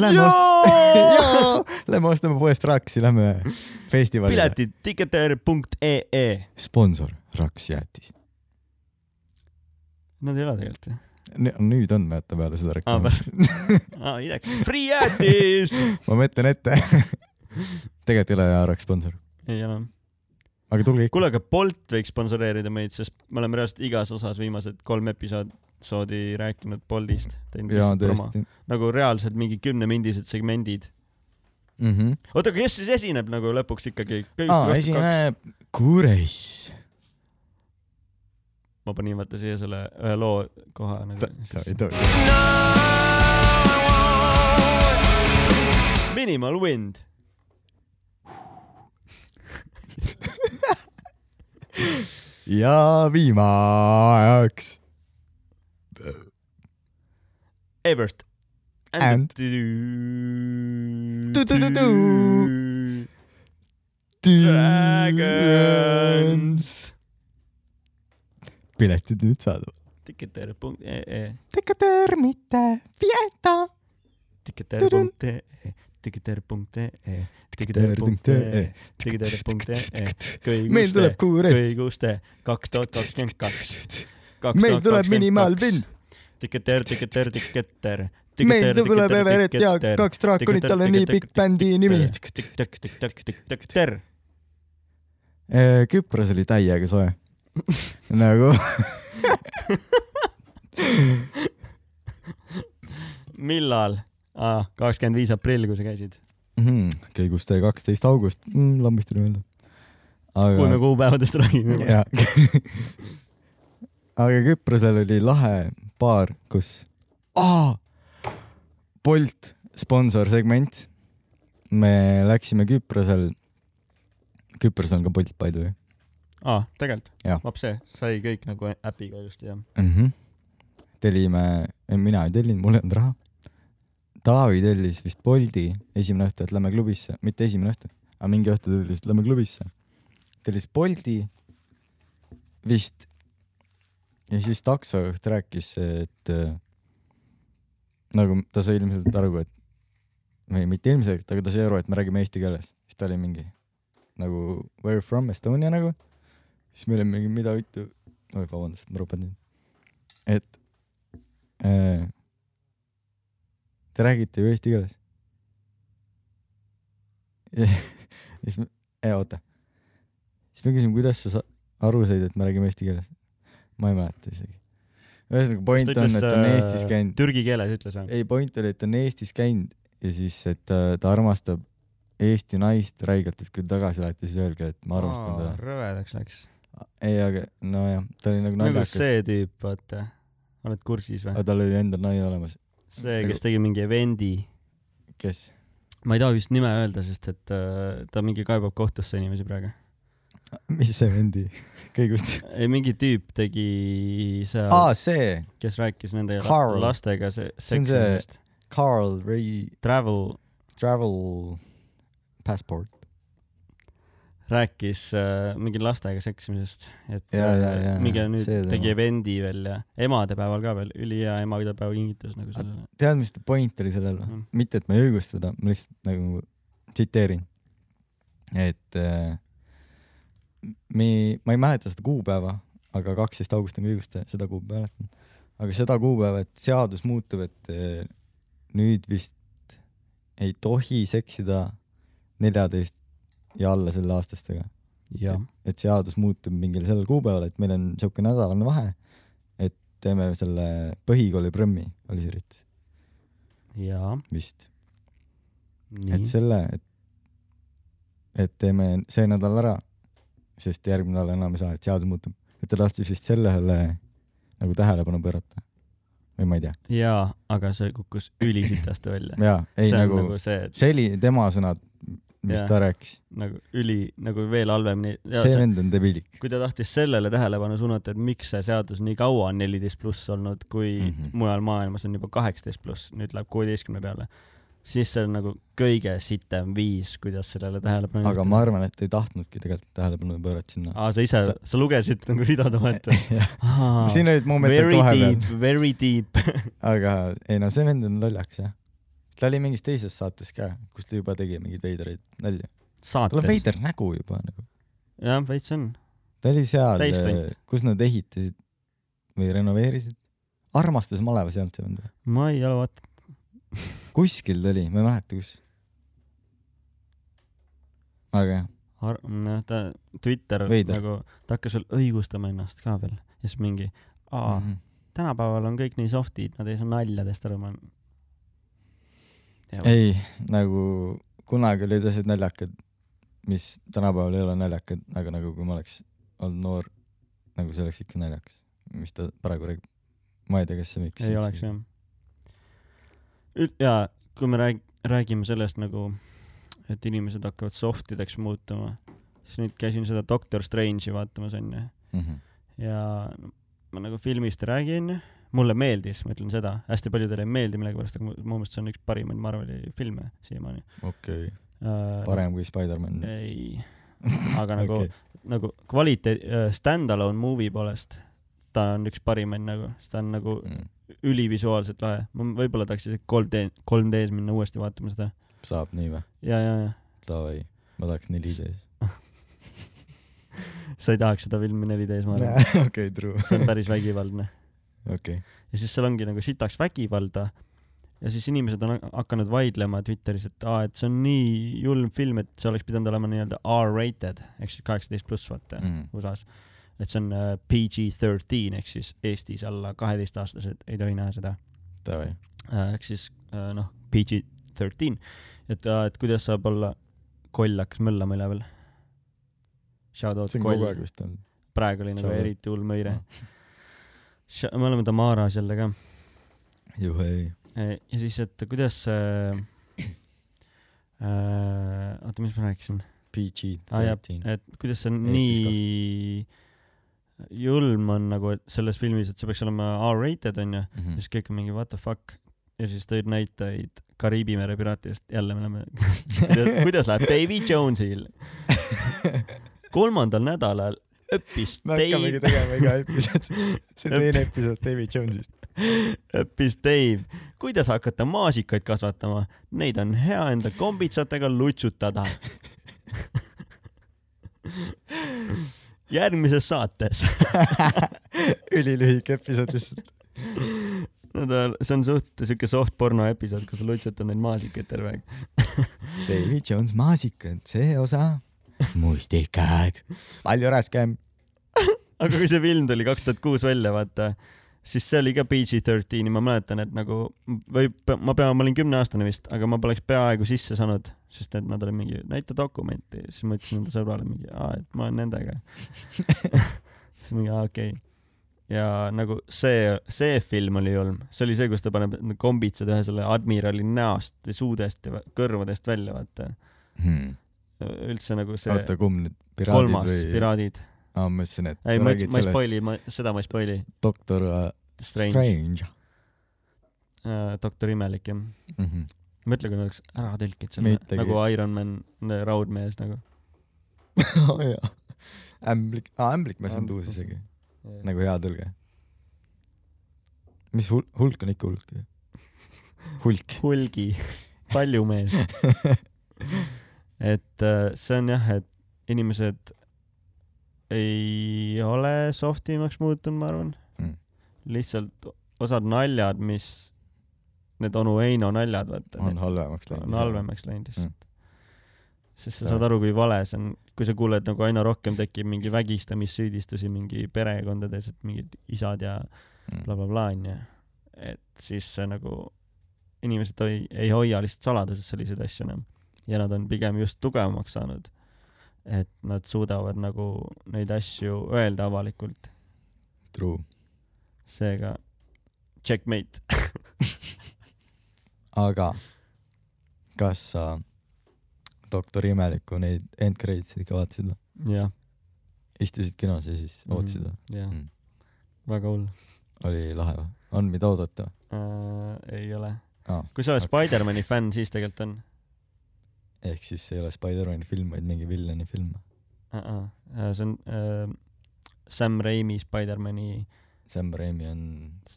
A: Lähme
B: jaa
A: <laughs> ostame , lähme ostame poest Raksi , lähme festivalile .
B: piletid ticketer.ee .
A: sponsor Raks jäätis .
B: Nad ei ole tegelikult ju .
A: nüüd on vaata peale seda
B: aa ,
A: reklaami .
B: pärast . aa , idekas . Free jäätis .
A: ma mõtlen
B: <laughs>
A: ette . tegelikult ei ole jaa Raks sponsor ,
B: ei ole .
A: aga tulge ikka .
B: kuule , aga Bolt võiks sponsoreerida meid , sest me oleme reaalselt igas osas viimased kolm episoodi rääkinud Boltist .
A: jaa , tõesti .
B: nagu reaalselt mingi kümnemindised segmendid . oota , aga kes siis esineb nagu lõpuks ikkagi ?
A: Mm-hmm. aa , esineb Kureis .
B: ma panin vaata siia selle ühe loo koha nagu .
A: ei tohi .
B: Minimal Wind .
A: ja viimaks .
B: Evert .
A: And- Tu-tu-tu-tu.
B: Dragons. .
A: piletid nüüd saadaval .
B: tiketer.ee ,
A: tikater mitte , Fiesta .
B: tiketer.ee , tiketer.ee ,
A: eh,
B: tiketer.ee , tiketer.ee ,
A: meil tuleb
B: eh, kõiguste ,
A: Kureis .
B: kõiguste kaks tuhat kakskümmend kaks , kaks
A: meil tuleb minimaalpind ,
B: tiketer , tiketer , tiketer .
A: meil tuleb Everett ja kaks draakonit , tal on nii pikk bändi nimi .
B: tiketer .
A: Küpros oli täiega soe . <laughs> nagu
B: millal ? kakskümmend viis aprill , kui sa käisid .
A: Mhm, kõigust kaksteist august , lambist tuli meelde .
B: kui me
A: aga ,
B: kuupäevadest räägime .
A: jaa . aga Küprosel oli lahe baar , kus , aa , Bolt sponsorsegment . me läksime Küprosel , Küpros on ka Bolt by the way
B: aa , Ah, tegelikult
A: Jah. ?
B: vaps see , sai kõik nagu äpiga ilusti jah .
A: mm . -hmm. tellime , mina ei tellinud , mul ei olnud raha . Taavi tellis vist Boldi esimene õhtu , et lähme klubisse , mitte esimene õhtu , aga mingi õhtu ta ütles , et lähme klubisse . tellis Boldi vist ja siis taksojuht rääkis , et äh, nagu ta sai ilmselt aru , et või mitte ilmselt , aga ta sai aru , et me räägime eesti keeles , siis ta oli mingi nagu where from Estonia nagu , siis me olime mingi mida vittu , oi vabandust , ma rupan nüüd , et äh, te räägite ju eesti keeles . ja siis me , oota , siis me küsime , kuidas sa sa- aru said , et me räägime eesti keeles ? ma ei mäleta isegi . ühesõnaga point on , et ta on Eestis käinud .
B: äh, Türgi keeles ütles või ?
A: ei , point oli , et ta on Eestis käinud ja siis , et äh, ta, ta armastab Eesti naist räigelt , et kui ta tagasi lähete , siis öelge , et ma armastan teda .
B: rõvedaks läks .
A: ei , aga nojah , ta oli nagu
B: nagu
A: naljakas ,
B: see tüüp , vaata . oled kursis või
A: aga ? tal oli endal naine olemas ,
B: see ,
A: nagu-
B: kes tegi mingi event'i .
A: kes ,
B: ma ei taha vist nime öelda , sest et äh, ta mingi kaebab kohtusse inimesi praegu .
A: <laughs> mis see vendi kõigust ,
B: ei , mingi tüüp tegi seal ,
A: <laughs> aa see ,
B: kes rääkis nende la-
A: Carl.
B: lastega se-
A: See on see-
B: seksimisest .
A: Carl Ray
B: Travel
A: Travel Passport .
B: rääkis äh, mingi lastega seksimisest , et
A: Ja, ja,
B: äh,
A: ja,
B: mingi
A: ja,
B: nüüd
A: see teema.
B: tegi eventi veel ja emadepäeval ka veel , ülihea emadepäeva kingitus nagu sellele .
A: tead , mis ta point oli sellel või
B: Mm. ?
A: mitte , et ma ei õigusta seda , ma lihtsalt nagu tsiteerin . et äh, me , ma ei mäleta seda kuupäeva , aga kaksteist august on kõigust , seda kuupäeva mäletan . aga seda kuupäeva , et seadus muutub , et äh, nüüd vist ei tohi seksida neljateist ja alla selle aastastega .
B: jah ,
A: et seadus muutub mingil sellel kuupäeval , et meil on siuke nädalane vahe , et teeme selle põhikooli prõmmi , oli see üritus
B: ja
A: vist .
B: nii
A: et . selle , et , et teeme see nädal ära , sest järgmine nädal enam ei saa , et seadus muutub . et ta tahtis vist sellele nagu tähelepanu pöörata . või ma ei tea ,
B: jaa , aga see kukkus ülisitaste välja .
A: jaa , <laughs> ei
B: see on
A: nagu,
B: nagu
A: nagu ,
B: see , et
A: see oli tema sõnad , mis
B: Jah.
A: ta rääkis .
B: nagu üli , nagu veel halvemini .
A: see vend on debiilik .
B: kui ta tahtis sellele tähelepanu suunata , et miks see seadus nii kaua on neliteist pluss olnud , kui mm
A: Mhm.
B: -hmm. mujal maailmas on juba kaheksateist pluss , nüüd läheb kuueteistkümne peale , siis see on nagu kõige sitem viis , kuidas sellele tähelepanu
A: aga ma arvan , et ei tahtnudki tegelikult tähelepanu pöörata <laughs> sinna .
B: aa , sa ise , sa lugesid nagu ridade vahelt või ?
A: <laughs> siin olid momendid
B: Very
A: vahepeal
B: deep , very deep .
A: aga ei no see vend on lollakas jah . ta oli mingis teises saates ka , kus ta juba tegi mingeid veidraid nalju . tal on
B: saates .
A: veider nägu juba nagu .
B: jah , veits on .
A: ta oli
B: Täis
A: seal äh,
B: tont. ,
A: kus nad ehitasid või renoveerisid . armastas malevas ei olnud see vend või ?
B: ma ei ole vaadanud .
A: kuskil ta oli , ma ei mäleta , kus . aga jah ,
B: Ar- , noh , ta Twitter
A: Veider.
B: Veider. nagu , ta hakkas veel õigustama ennast ka veel ja siis mingi , aa ,
A: Mhm.
B: tänapäeval on kõik nii soft'id , nad ei saa naljadest aru , ma .
A: ei nagu kunagi olid asjad naljakad , mis tänapäeval ei ole naljakad , aga nagu kui ma oleks olnud noor , nagu see oleks ikka naljakas , mis ta praegu räägib . ma ei tea , kas see miks .
B: ei oleks jah . ja kui me rääg- , räägime sellest nagu , et inimesed hakkavad soft ideks muutuma , siis nüüd käisin seda Doctor Strange'i vaatamas onju
A: mm . -hmm.
B: ja no, ma nagu filmist räägin , mulle meeldis , ma ütlen seda , hästi paljudele ei meeldi millegipärast , aga mu mu meelest see on üks parimaid Marveli filme siiamaani . Äh,
A: okei okay. , parem kui Spider-man .
B: ei , aga nagu okay. , nagu kvaliteet , stand-alone movie poolest ta on üks parimaid nagu , sest ta on nagu
A: Mm. Mhm.
B: ülivisuaalselt lahe , ma võib-olla tahaks isegi 3D , 3D-s minna uuesti vaatama seda .
A: saab nii või ?
B: ja , ja , ja ,
A: Davai , ma tahaks 4D-s .
B: sa ei tahaks seda filmi 4D-s , ma arvan ,
A: okei , true .
B: see on päris vägivaldne .
A: okei ,
B: ja siis seal ongi nagu sitaks vägivalda ja siis inimesed on ha- hakanud vaidlema Twitteris , et aa , et see on nii julm film , et see oleks pidanud olema nii-öelda R-rated ehk siis kaheksateist pluss vaata mm. USA-s . et see on äh, PG-13 ehk siis Eestis alla kaheteistaastased ei tohi näha seda
A: davai .
B: Äh, ehk siis äh, noh , PG-13 , et , et kuidas saab olla , koll hakkas möllama üleval . Shout out
A: see on kogu
B: koll
A: aeg , vist olnud .
B: praegu oli nagu
A: Shout out.
B: eriti hull möire . me oleme Damaras jälle ka .
A: juhei .
B: ja siis , et kuidas äh, , äh, oota , mis ma rääkisin , Aa, Ah, jah.
A: PG-13 .
B: et kuidas see on
A: Eestis
B: nii julm on nagu , et selles filmis , et see peaks olema R-rated onju ,
A: Mhm. Mm.
B: siis kõik on mingi what the fuck ja siis tõid näiteid Kariibi mere piraatidest , jälle me
A: <laughs>
B: oleme , <laughs> kuidas läheb Davy Jones'il ? kolmandal nädalal õppis
A: me hakkamegi
B: Dave ,
A: tegema iga episood , see on teine episood Davy <laughs> Jones'ist .
B: õppis Dave , kuidas hakata maasikaid kasvatama , neid on hea enda kombitsatega
A: <laughs>
B: lutsutada . järgmises saates ,
A: ülilühike episood lihtsalt .
B: no ta , see on suht siuke soft porno episood , kus sa lutsutad neid maasikaid terve aeg .
A: Davy Jones maasikad , see osa . mustikad . palju raskem .
B: aga kui see film tuli kaks tuhat kuus välja , vaata , siis see oli ka PG-13 ja ma mäletan , et nagu või pe- ma pean , ma olin kümneaastane vist , aga ma poleks peaaegu sisse saanud , sest et nad olid mingi , näita dokumenti , siis ma ütlesin enda sõbrale mingi , et ma olen nendega . <laughs> siis mingi , aa okei okay. . ja nagu see , see film oli julm , see oli see , kus ta paneb need kombitsad ühe selle admirali näost või suudest ja vä- kõrvadest välja , vaata .
A: Hmm.
B: üldse nagu see
A: oota , kumb nüüd ? piraadid
B: kolmas ,
A: või ?
B: Piraadid .
A: aa , ma mõtlesin , et
B: ei ,
A: sa
B: ma ei ,
A: räägid
B: ma ei
A: sellest
B: spoil'i , ma , seda ma ei spoil'i .
A: doktor äh,
B: Strange, Strange. ,
A: Strange .
B: doktor Imelik jah .
A: Mhm.
B: mõtle , kui nad oleks ära tõlkinud selle
A: Mõtlegi. ,
B: nagu Iron Man n- raudmees nagu .
A: <laughs> oh, . ämblik , aa ämblik mees on tuus isegi , nagu hea tõlge . mis hul- , hulk on ikka hulk <laughs> ju . hulk . <laughs>
B: hulgi , paljumees . et äh, see on jah , et inimesed ei ole soft imaks muutunud , ma arvan
A: Mm.
B: mm. . lihtsalt osad naljad , mis , need onu Heino naljad , vaata .
A: on halvemaks läinud .
B: on . halvemaks läinud lihtsalt mm. . sest sa
A: Jah.
B: saad aru , kui vale see on , kui sa kuuled nagu aina rohkem tekib mingi vägistamissüüdistusi mingi perekondades , et mingid isad ja
A: Mm.
B: blablabla onju . et siis see nagu , inimesed ei, ei hoia lihtsalt saladuses selliseid asju enam ja nad on pigem just tugevamaks saanud . et nad suudavad nagu neid asju öelda avalikult ,
A: True .
B: seega checkmate .
A: aga kas sa doktor Imelikku neid end credits'e ikka vaatasid või ?
B: <laughs> jah ,
A: istusid kinos ja
B: Mhm.
A: siis ootasid või ?
B: jah
A: Mm. ,
B: väga hull
A: oli lahe või ? on mida oodata või ?
B: äh, . ei ole
A: Aa, .
B: kui sa oled
A: okei.
B: Spider-man'i fänn , siis tegelikult on
A: ehk siis see ei ole Spider-man'i film , vaid mingi villani film .
B: uh . -uh. see on äh, Sam Raimi Spider-man'i ,
A: Sam Raimi on ,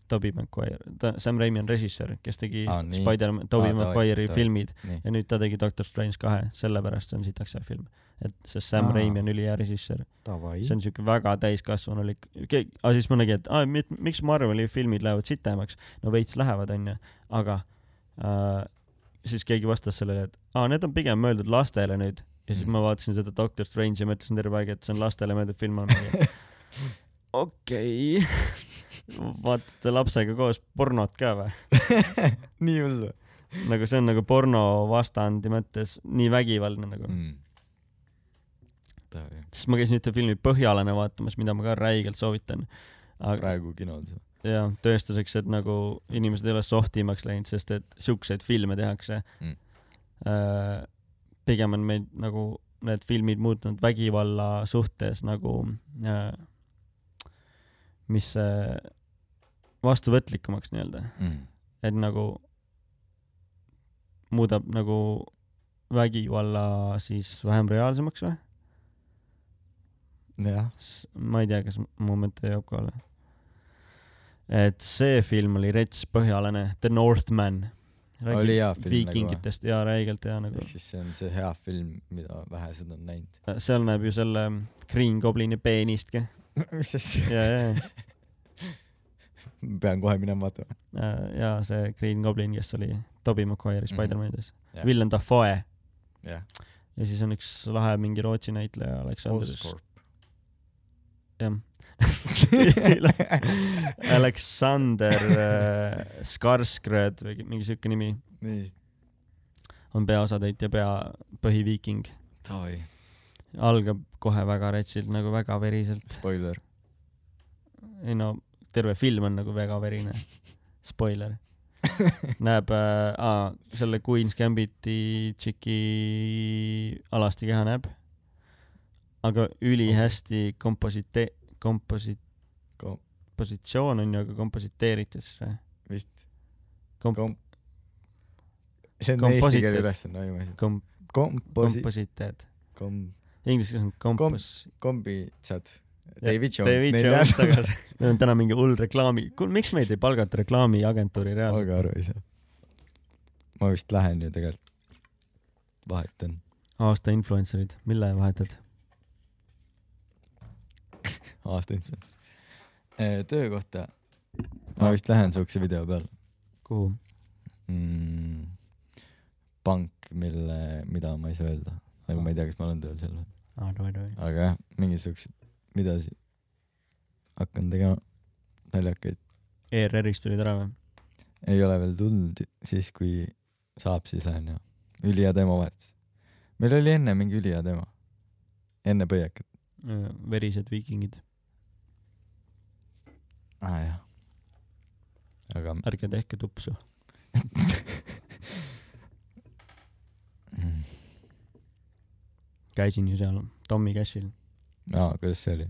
B: Tobey Maguire , ta , Sam Raimi on režissöör , kes tegi
A: Aa,
B: ah,
A: nii.
B: Spider-man , Tobey
A: Aa, davai,
B: Maguire'i
A: davai.
B: filmid
A: nii ,
B: ja nüüd ta tegi Doctor Strange kahe , sellepärast see on sitaks hea film . et see Sam
A: Aa.
B: ah. Raimi on ülihea režissöör ,
A: davai
B: see on siuke väga täiskasvanulik , aga siis ma nägin , et aa, mit- miks Marveli filmid lähevad sitemaks , no veits lähevad , onju , aga äh, siis keegi vastas sellele , et aa , need on pigem mõeldud lastele nüüd ja siis
A: Mhm.
B: ma vaatasin seda Doctor Strange'i ja mõtlesin terve aeg , et see on lastele mõeldud film , on mingi okei <laughs> vaatate lapsega koos pornot ka või ?
A: nii hull või ?
B: nagu see on nagu porno vastandi mõttes nii vägivaldne
A: Mm.
B: nagu .
A: davai ,
B: siis ma käisin ühte filmi Põhjalane vaatamas , mida ma ka räigelt soovitan . aga
A: praegu kinodes või ?
B: ja tõestuseks , et nagu inimesed ei ole sohtimaks läinud , sest et siukseid filme tehakse
A: Mm.
B: mm. . pigem on meil nagu need filmid muutunud vägivalla suhtes nagu äh, , mis äh, vastuvõtlikumaks nii-öelda ,
A: mm. .
B: et nagu muudab nagu vägivalla siis vähem reaalsemaks või ?
A: jah ,
B: S- ma ei tea , kas mu mõte jõuab kohale . et see film oli rets põhjalane , The Northman .
A: oli hea film nagu või ?
B: viikingitest ja räigelt hea nagu
A: ehk . siis see on see hea film , mida vähesed on näinud . <laughs>
B: seal näeb ju selle Green Goblini peenist ka .
A: mis asja ,
B: ja , ja ,
A: pean kohe minema vaatama .
B: ja see Green Goblin , kes oli Tobey Maguire'i
A: Mhm.
B: Spider-manides mm
A: Jah.
B: -hmm. . Villem Dafoe
A: jah ,
B: ja siis on üks lahe mingi Rootsi näitleja Aleksander ,
A: Oscorp .
B: jah
A: <laughs>
B: <laughs> Aleksander äh, Skarsgård või mingi siuke nimi
A: nii ,
B: on peaosatäitja pea , põhiviiking .
A: davai ,
B: algab kohe väga retsilt , nagu väga veriselt .
A: spoiler .
B: ei no terve film on nagu väga verine . Spoiler . näeb äh, , aa , selle Queen's Gambiti tšiki alasti keha näeb . aga ülihästi komposite- , komposit- ,
A: Kom-
B: kompositsioon on ju , aga kompositeeritud siis või ?
A: vist
B: Komp-
A: kom- . see on eesti keele
B: Komposited.
A: ülesanne , ma ei mõelnud .
B: kom- ,
A: komposi- ,
B: kompositeed .
A: kom- ,
B: Inglise keeles on kompos- .
A: kombitsad .
B: Jah,
A: David Jones
B: David Jones
A: neljas .
B: tagasi . meil on täna mingi hull reklaami , kuule miks meid ei palgata reklaamiagentuuri reaalselt ?
A: aga aru ei saa . ma vist lähen ju tegelikult , vahetan .
B: aasta influencer'id , mille vahetad ?
A: aasta ilmselt . töökohta . ma vist lähen siukse video peale
B: kuhu ?
A: mm, . pank , mille , mida ma ei saa öelda , nagu ma ei tea , kas ma olen tööl seal või , aga jah , mingisuguseid , mida siis hakkan tegema , naljakaid
B: ERR-ist E tulid ära või ?
A: ei ole veel tulnud , siis kui saab , siis lähen ja ülihea demovahetus . meil oli enne mingi ülihea demo , enne põiekat .
B: verised viikingid ,
A: aa Ah, jah . aga
B: ärge tehke tupsu .
A: mm,
B: käisin ju seal Tommy Cashil .
A: aa , kuidas see oli ?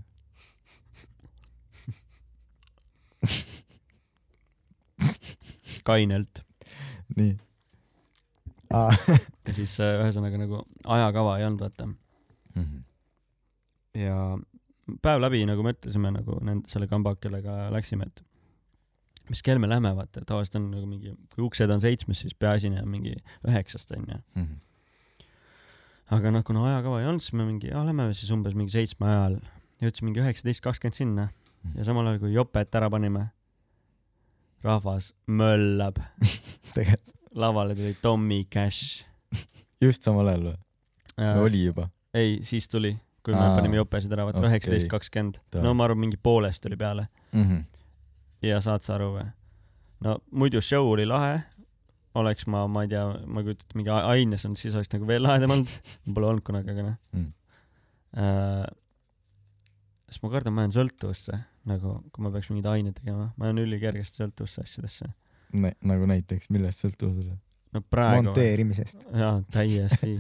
B: kainelt .
A: nii . aa .
B: ja siis äh, ühesõnaga nagu ajakava ei olnud , vaata .
A: Mhm,
B: ja päev läbi nagu mõtlesime nagu nende , selle kamba , kellega läksime , et mis kell me lähme , vaata , tavaliselt on nagu mingi , kui uksed on seitsmes , siis peaasjani on mingi üheksast , onju .
A: mhm,
B: aga noh , kuna ajakava ei olnud , siis me mingi , aa lähme siis umbes mingi seitsme ajal , jõudsime mingi üheksateist kakskümmend sinna
A: mhm.
B: ja samal ajal kui jopet ära panime , rahvas möllab ,
A: <laughs> tegelikult
B: lavale tuli Tommy Cash .
A: just samal ajal või ? oli juba ?
B: ei , siis tuli , kui me
A: Aa,
B: panime jopesid ära , vaata
A: okei.
B: üheksateist kakskümmend ,
A: Ta-
B: no ma arvan , mingi poolest tuli peale
A: Mhm.
B: ja saad sa aru või ? no muidu show oli lahe , oleks ma , ma ei tea , ma kujutan ette , mingi a- aines olnud , siis oleks nagu veel lahedam olnud , pole olnud kunagi , aga noh
A: Mm.
B: uh, . sest ma kardan , ma jään sõltuvusse , nagu kui ma peaks mingeid aineid tegema , ma jään ülikergesti sõltuvusse asjadesse .
A: nagu näiteks , millest sõltub see ?
B: no praegu .
A: monteerimisest
B: jaa , täiesti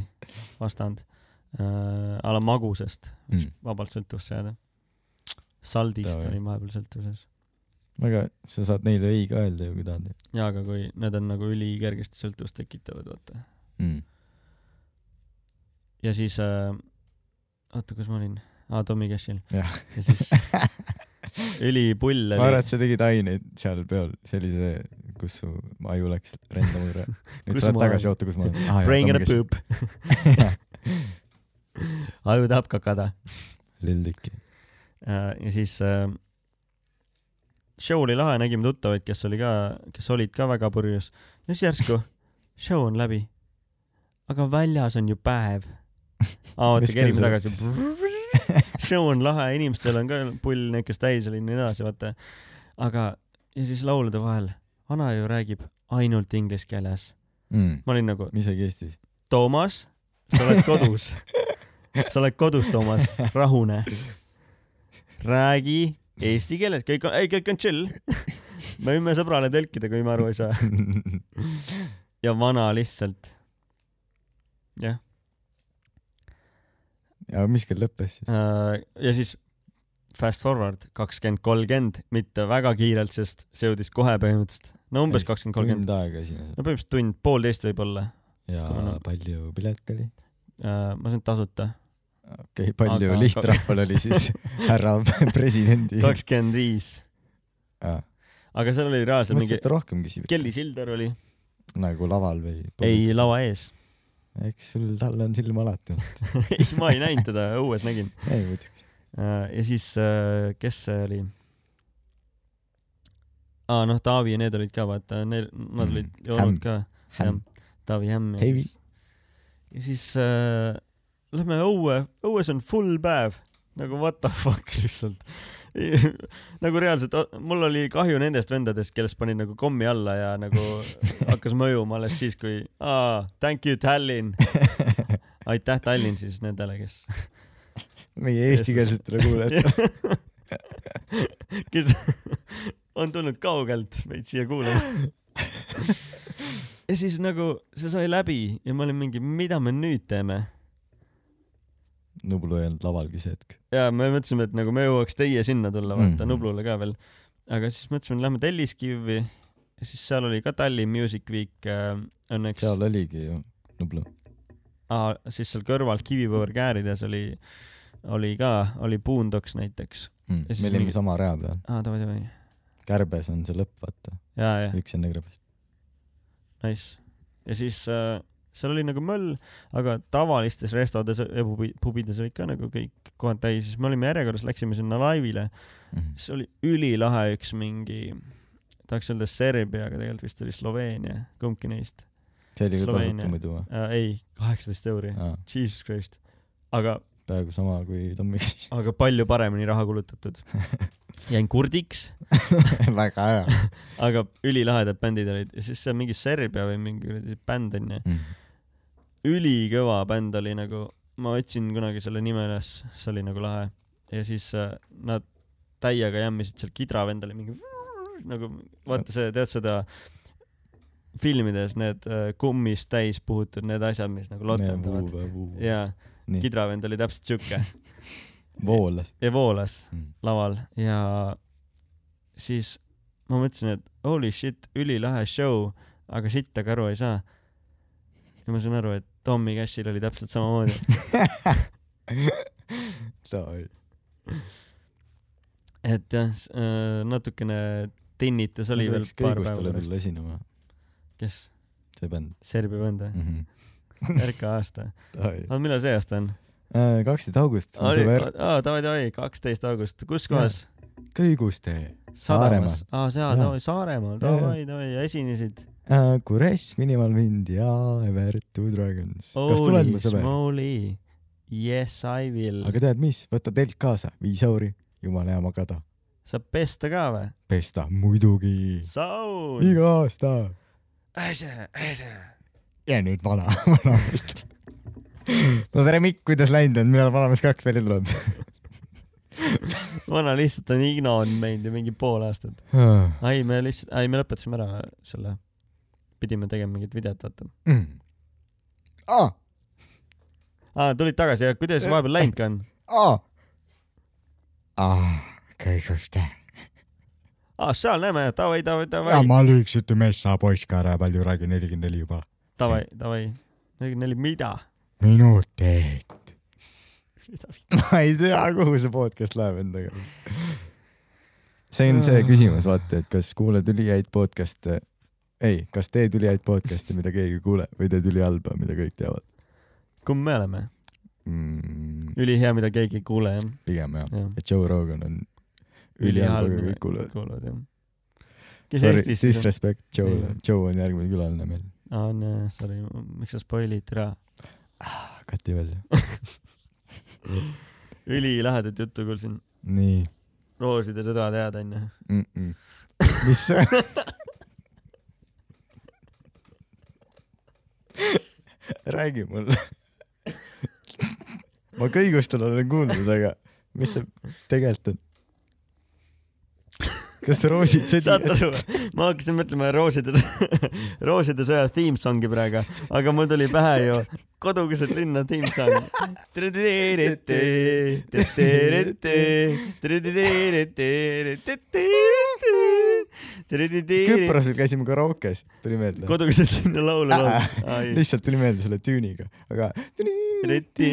B: vastand äh, . a la magusast
A: mm. .
B: vabalt sõltuvusse jääda . saldist
A: Davai.
B: olin vahepeal sõltuvuses .
A: aga sa saad neile ei ka öelda ju , kui tahad
B: jaa , aga kui need on nagu ülikergesti sõltuvust tekitavad , vaata .
A: mm. .
B: ja siis äh, , oota , kus ma olin ? aa , Tommy Cashil .
A: Jah.
B: ja siis
A: <laughs>
B: ülipull
A: ma arvan ,
B: oli .
A: et sa tegid aineid seal peol , sellise , kus su aju läks rändama <laughs> üle . nüüd
B: Kus
A: sa lähed
B: ma
A: tagasi ,
B: olen?
A: oota , <laughs> kus ma olen
B: Brain in a . poop .
A: <laughs>
B: aju tahab kakada .
A: Lill Dicky .
B: ja siis äh, show oli lahe , nägime tuttavaid , kes oli ka , kes olid ka väga purjus . ja siis
A: <laughs>
B: järsku show on läbi . aga väljas on ju päev . aa , oota
A: Mis , kell
B: kerime
A: see-
B: tagasi . <laughs>
A: <laughs>
B: show on lahe , inimestel on ka pull need , kes täis olid ja nii edasi , vaata . aga , ja siis laulude vahel , vana ju räägib ainult inglise keeles .
A: mm. .
B: ma olin nagu ,
A: isegi Eestis .
B: Toomas , sa oled kodus . sa oled kodus , Toomas , rahune . räägi eesti keeles , kõik on , ei kõik on chill . me võime sõbrale tõlkida , kui me aru ei saa . ja vana lihtsalt . jah ,
A: ja mis kell lõppes siis ?
B: Äh, ja siis fast forward kakskümmend , kolmkümmend , mitte väga kiirelt , sest see jõudis kohe põhimõtteliselt . no umbes
A: Ei,
B: kakskümmend , kolmkümmend .
A: tund aega esimesel .
B: no põhimõtteliselt tund , poolteist võib-olla .
A: ja
B: Kuna-
A: palju pilet oli ?
B: ma sain tasuta .
A: okei okay, , palju
B: Aga-
A: Aga... lihtrahval oli <laughs> siis härra presidendi ?
B: kakskümmend viis .
A: mõtlesin ,
B: aga seal oli reaalselt mingi
A: et rohkem küsib .
B: Kelly Sildar oli .
A: nagu laval või ?
B: ei ,. lava ees . <laughs>
A: eks sul , tal on silm alati olnud .
B: ei , ma ei näinud teda , õues nägin .
A: ei muidugi .
B: Äh, ja siis , kes see oli ? aa , noh , Taavi ja need olid ka , vaata , neil , nad
A: Mm,
B: olid ju olnud
A: Hämm.
B: ka .
A: Hämm.
B: Taavi Hämm ja
A: Teivi.
B: siis , ja siis äh, lähme õue , õues on full päev . nagu what the fuck <laughs> lihtsalt . nagu reaalselt , mul oli kahju nendest vendadest , kellest panid nagu kommi alla ja
A: <laughs>
B: nagu hakkas mõjuma alles siis , kui aa , thank you
A: <laughs>
B: Tallinn . aitäh Tallinn siis nendele , kes
A: meie eestikeelsetele kuulajatele .
B: <laughs> kes on tulnud kaugelt meid siia kuulama .
A: <laughs>
B: ja siis nagu see sai läbi ja ma olin mingi , mida me nüüd teeme
A: Nublu ei olnud lavalgi see hetk .
B: ja me mõtlesime , et nagu me jõuaks teie sinna tulla , vaata mm
A: Mhm.
B: -hmm. Nublule ka veel . aga siis mõtlesime , et lähme Telliskivi ja siis seal oli ka Tallinn Music Week äh, õnneks .
A: seal oligi ju Nublu .
B: aa , siis seal kõrval Kivipõõr käärides oli , oli ka , oli Boondocks näiteks .
A: Mm.
B: Ja siis
A: me olime
B: mingi-
A: mingi... sama rea peal .
B: aa , davai , davai .
A: kärbes on see lõpp , vaata .
B: jaa , jah .
A: üks enne kärbest .
B: nice . ja siis äh, seal oli nagu möll , aga tavalistes restodes ja pubi- pubides olid ka nagu kõik kohad täis , siis me olime järjekorras , läksime sinna laivile ,
A: Mhm.
B: siis oli ülilahe üks mingi , tahaks öelda Serbia , aga tegelikult vist oli Sloveenia , kumbki neist
A: see oli ka
B: Sloveenia.
A: tasuta muidu või ?
B: äh, . ei , kaheksateist euri , jesus christ . aga ,
A: peaaegu sama kui Tommy Cash .
B: aga palju paremini raha kulutatud . jäin kurdiks ,
A: <laughs> väga hea
B: aga ülilahedad bändid olid ja siis seal mingi Serbia või mingi kuradi bänd onju .
A: mm. .
B: ülikõva bänd oli nagu , ma otsin kunagi selle nime üles , see oli nagu lahe . ja siis äh, nad täiega jämmisid seal , kidravend oli mingi <laughs> nagu , vaata see , tead seda filmides need äh, kummist täis puhutud need asjad , mis nagu lotendavad .
A: ja
B: jaa ,
A: nii ,
B: kidravend oli täpselt siuke
A: voolas <laughs>
B: ja voolas
A: mm. .
B: laval ja siis ma mõtlesin , et holy shit , ülilahe show , aga sitt aga aru ei saa . ja ma sain aru , et Tommy Cashil oli täpselt samamoodi .
A: <laughs>
B: et jah , natukene tinnitas oli veel paar päeva pärast .
A: tulla esinema ,
B: kes ?
A: see bänd
B: Serbia bänd
A: <laughs>
B: või ?
A: mm .
B: RK aasta .
A: -hmm.
B: aga millal see aasta on ?
A: Äh, kaksteist august , mu sõber
B: aa , davai , davai , kaksteist august , kus kohas ?
A: Kõigustee ,
B: sadamas . aa , seal ,
A: Jaa.
B: davai , Saaremaal ,
A: Jaa, jaa.
B: davai , davai , esinesid .
A: Kures , Äh, Minimal Wind ja Ever Two Dragons . kas tuled , mu
B: Holy
A: sõber ?
B: smoly , yes I will .
A: aga tead mis , võta telk kaasa , viis euri , jumala hea magada .
B: saab pesta ka või ?
A: pesta muidugi ,
B: saun .
A: iga aasta .
B: äsja , äsja .
A: ja nüüd vana , <laughs> vanameest . no tere Mikk , kuidas läinud on , millal vanamees kaks välja tuleb ?
B: vana lihtsalt on Ah. ignoreerinud meid ju mingi pool aastat . ai , me lihtsalt , ai , me lõpetasime ära selle pidime tegema mingit videot , vaata .
A: mm. . Ah. aa ,
B: aa , tulid tagasi ja kuidas vahepeal läinud ka on ?
A: aa . aa , kõik just .
B: aa , seal näeme , davai , davai ,
A: ja
B: davai ,
A: ma lühikese ütlen , mees saab poiss ka ära , palju räägi , nelikümmend neli juba .
B: davai , davai . nelikümmend neli , mida ?
A: minutit . ma ei tea , kuhu see podcast läheb endaga . Ah. see on see küsimus , vaata , et kas kuulad ülihäid podcast'e , ei , kas teed ülihäid podcast'e , mida keegi ei kuule või teed ülihalba , mida kõik teavad
B: kumb me oleme ?
A: mm, ?
B: ülihea , mida keegi ei kuule , jah .
A: pigem jah ,
B: jah ,
A: et Joe Rogan on
B: Ülihalb,
A: ülihalb , aga
B: mida-
A: kõik kuulavad .
B: kuulavad , jah . kes
A: Sorry ,
B: Eestis siis on ?
A: disrespect Joe'le
B: Ei. ,
A: Joe on järgmine külaline meil .
B: aa , on jah , sorry , miks sa spoilid ära ?
A: kati välja .
B: ülilahedat juttu kuulsin .
A: nii
B: rooside sõda tead , onju .
A: mm . -mm. mis see räägi mulle . ma kõigustel olen kuulnud , aga mis see tegelikult on ? kas te roosid
B: saad
A: sõdi ?
B: aru või ? ma hakkasin mõtlema rooside , <laughs> rooside sõja theme song'i praegu , aga mul tuli pähe ju kodukeset linna theme song .
A: Küprosel käisime karaokes , tuli meelde .
B: kodukeset linna laulu laulab .
A: lihtsalt tuli meelde selle tüüniga , aga .
B: Riti ,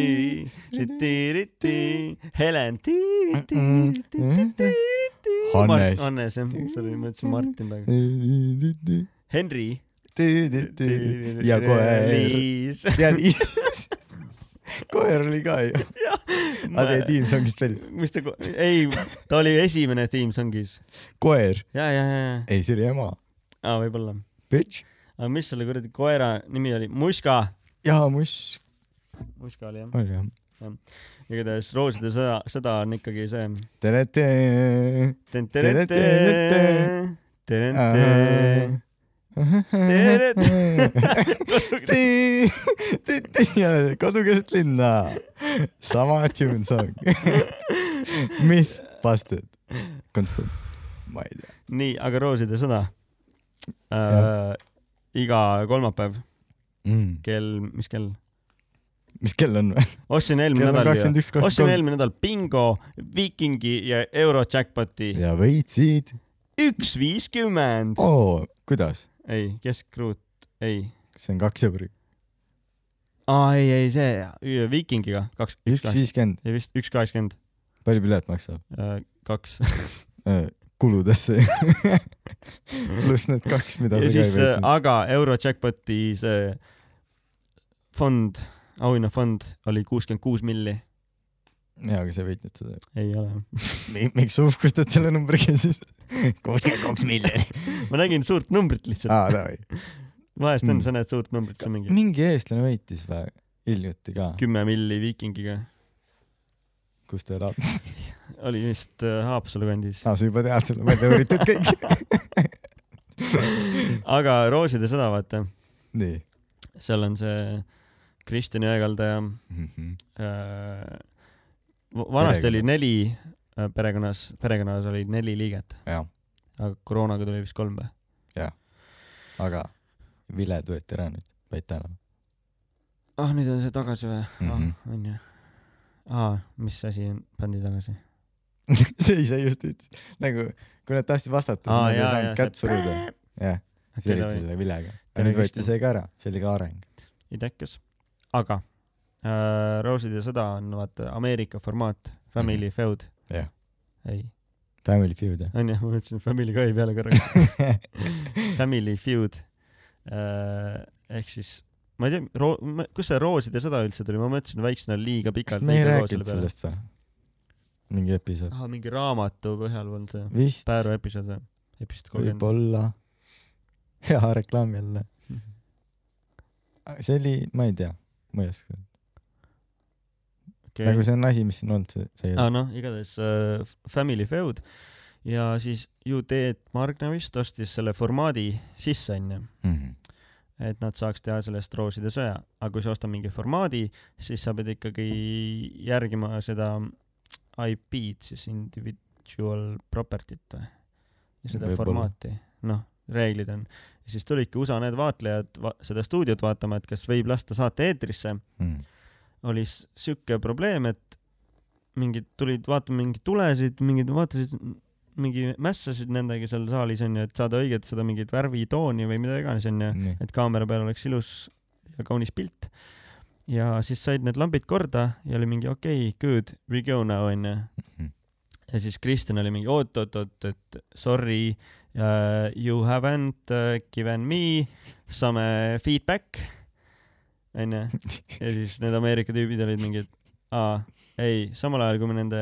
B: riti , riti , Helen .
A: Hannes.
B: Hannes jah , sorry , ma ütlesin Martin praegu . Henry .
A: ja koer .
B: Liis .
A: ja liis . koer oli ka ju . aga teie tiim songist veel .
B: mis ta , ei , ta oli esimene Team Songis .
A: koer ,
B: ja , ja , ja , ja ,
A: ei see oli ema ,
B: aa , võib-olla .
A: bitch .
B: aga mis selle kuradi koera nimi oli ? Muska .
A: ja muss
B: Muska oli jah .
A: oli jah .
B: igatahes Rooside sõda , sõda on ikkagi see .
A: tere , tere . kodukeset linna , sama tune song . Myth busted . ma ei tea .
B: nii , aga Rooside sõda
A: Jah.
B: äh, . iga kolmapäev
A: Mm.
B: kell , mis kell ?
A: mis kell on või ?
B: ostsin eelmine
A: kell on
B: nädal ju
A: kakskümmend üks ,
B: ostsin
A: kakskümmend kolm .
B: eelmine nädal bingo , viikingi ja euro jackpot'i
A: ja võitsid .
B: üks viiskümmend .
A: oo , kuidas ?
B: ei , keskruut , ei .
A: see on kaks euri .
B: aa , ei , ei see , viikingiga kaks , üks
A: üks
B: kaheksakümmend ,
A: viiskümmend ,
B: ei vist üks kaheksakümmend ,
A: palju pilet maksab ?
B: kaks .
A: kuludesse . <laughs> pluss need kaks , mida sa ka
B: ja
A: ei
B: siis , äh,
A: võitnud .
B: aga euro jackpot'i see fond , auhinnafond oli kuuskümmend kuus milli .
A: jaa , aga sa ei võitnud seda .
B: ei ole .
A: miks sa uhkustad selle numbriga
B: <laughs>
A: siis ? kuuskümmend kaks miljonit .
B: ma nägin suurt numbrit lihtsalt ,
A: aa , davai .
B: vahest
A: Ah,
B: on ,
A: Mm.
B: sa näed suurt numbrit , see on mingi
A: mingi eestlane võitis või ? hiljuti ka ,
B: kümme milli viikingiga .
A: kus ta elab .
B: oli vist äh, Haapsalu kandis .
A: aa , sa juba tead selle , ma ei tea , üritad
B: <laughs>
A: kõik .
B: aga Rooside sõda , vaata ,
A: nii .
B: seal on see Kristjan Jõekalda ja
A: Mhm.
B: äh, va- vanasti oli
A: Perekonna-
B: neli äh, perekonnas , perekonnas oli neli liiget ,
A: jah ,
B: aga koroonaga tuli vist kolm või ?
A: aga viled võeti ära nüüd , vaid täna . <laughs>
B: ah , nüüd on see tagasi või mm
A: Mhm.
B: -hmm. ah, ? onju . aa , mis asi on , pandi tagasi ?
A: see ise just ütles , nagu kui nad tahtsid vastata ,
B: Aa,
A: siis nad ei
B: jaa, jaa,
A: saanud kätt
B: see-
A: suruda . jah , siis olid
B: okay, .
A: selle vilega .
B: Tere,
A: aga nüüd võeti
B: Kristjan.
A: see ka ära , see oli ka areng .
B: ei tekkas . aga äh, Rooside sõda on vaata Ameerika formaat , family mm -hmm. feud .
A: Mhm. Jah. .
B: ei ,
A: Family feud jah ?
B: onju , ma mõtlesin family guy peale korraga .
A: <laughs>
B: Family feud äh, . ehk siis ma ei tea , roo- , kus see Rooside sõda üldse tuli , ma mõtlesin väiksena liiga
A: kas
B: pikalt .
A: me ei rääkinud sellest või ? mingi episood .
B: ah, . mingi raamatu põhjal olnud see
A: vist ,
B: Pääru episood või ? episood kolmkümmend .
A: võib-olla . <laughs> hea reklaam jälle . see oli , ma ei tea , ma ei oska .
B: okei
A: nagu , see on asi , mis siin olnud , see , see
B: aga noh , igatahes äh, Family Feud ja siis ju Teet Margna vist ostis selle formaadi sisse onju ,
A: mm .
B: et nad saaks teha sellest rooside sõja , aga kui sa ostad mingi formaadi , siis sa pead ikkagi järgima seda IP-d siis individual property't või ? ja seda
A: Võib-olla.
B: formaati , noh , reeglid on . ja siis tulidki USA need vaatlejad va seda stuudiot vaatama , et kas võib lasta saate eetrisse .
A: mm. .
B: oli s- sihuke probleem , et mingid tulid vaatama mingeid tulesid , mingid vaatasid , mingi mässasid nendega seal saalis onju , et saada õiget seda mingit värvitooni või mida iganes onju .
A: nii ,
B: et kaamera peal oleks ilus ja kaunis pilt . ja siis said need lambid korda ja oli mingi okei okay, , good , we go now onju . ja siis Kristjan oli mingi oot-oot-oot , et sorry uh, , you haven't uh, given me some uh, feedback onju . ja siis need Ameerika tüübid olid mingid , aa , ei , samal ajal kui me nende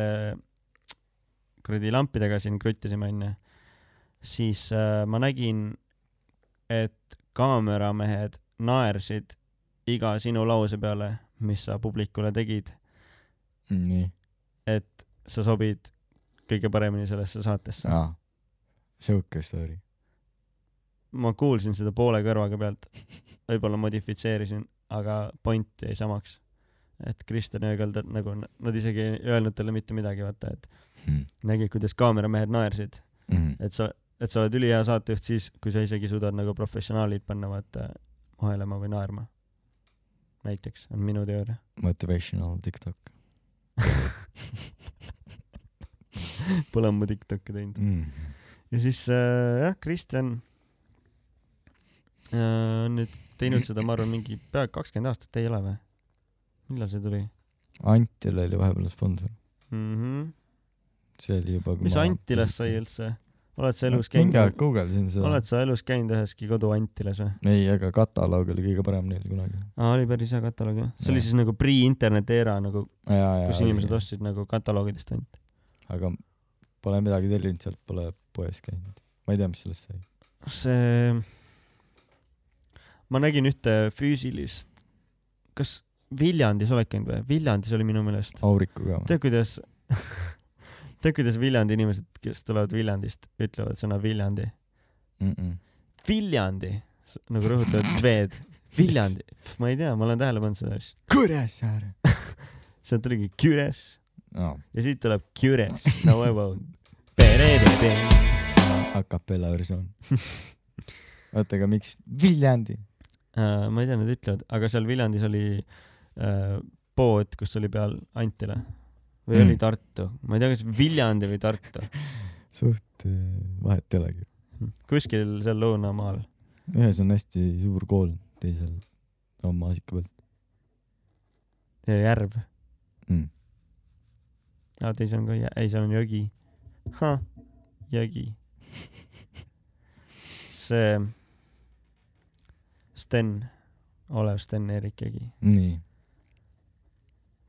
B: kuradi lampidega siin kruttisime onju , siis äh, ma nägin , et kaameramehed naersid iga sinu lause peale , mis sa publikule tegid ,
A: nii , Mm-hmm.
B: et sa sobid kõige paremini sellesse saatesse .
A: aa , sihuke story .
B: ma kuulsin seda poole kõrvaga pealt , võib-olla modifitseerisin , aga point jäi samaks . et Kristjan Öögald , nagu n- nad isegi ei öelnud talle mitte midagi , vaata , et
A: Mm-hmm.
B: nägid , kuidas kaameramehed naersid , et sa , et sa oled ülihea saatejuht siis , kui sa isegi suudad nagu professionaalid panna , vaata , vahelema või naerma . näiteks on minu teooria .
A: Motivational Tiktok
B: Pole ammu Tiktoki teinud .
A: mm. .
B: ja siis äh, jah , Kristjan äh, on nüüd teinud seda , ma arvan , mingi pea kakskümmend aastat ei ole või ? millal see tuli
A: Antil oli vahepeal sponsor ,
B: mm ? -hmm.
A: see oli juba .
B: mis Antilast sai ? üldse ? oled sa elus
A: mingi aeg
B: käinud ,
A: guugeldasin seda .
B: oled sa elus käinud üheski kodu Antilas või ?
A: ei , aga kataloog oli kõige parem neil kunagi .
B: aa , oli päris hea kataloog jah . see oli
A: Jah.
B: siis nagu pre-interneti era nagu , kus inimesed
A: aga
B: ostsid nagu kataloogidest ainult .
A: pole midagi tellinud , sealt pole poes käinud . ma ei tea , mis sellest sai .
B: Noh, see , ma nägin ühte füüsilist , kas Viljandis oled käinud või ? Viljandis oli minu meelest .
A: Auriku ka või ?
B: tead , kuidas , tead , kuidas Viljandi inimesed , kes tulevad Viljandist , ütlevad sõna Viljandi . Viljandi , nagu rõhutavad V-d . Viljandi , ma ei tea , ma olen tähele pannud seda vist .
A: Kuressaare .
B: sealt tuligi Küres
A: aa ,
B: ja siit tuleb Küres . no I won't . Perede .
A: acapella
B: <laughs>
A: versioon . oota , aga miks Viljandi ?
B: Äh, ma ei tea , nad ütlevad , aga seal Viljandis oli äh, pood , kus oli peal Antila või
A: Mm.
B: oli Tartu , ma ei tea , kas Viljandi või Tartu ,
A: suht eh, vahet ei olegi .
B: kuskil seal lõunamaal .
A: ühes on hästi suur kool , teisel on maasika pealt
B: ja järv .
A: mm. .
B: aa , teisel on ka jä- , ei , seal on jõgi . Huh, jõgi . see Sten , Olev Sten Erik Jõgi ,
A: nii .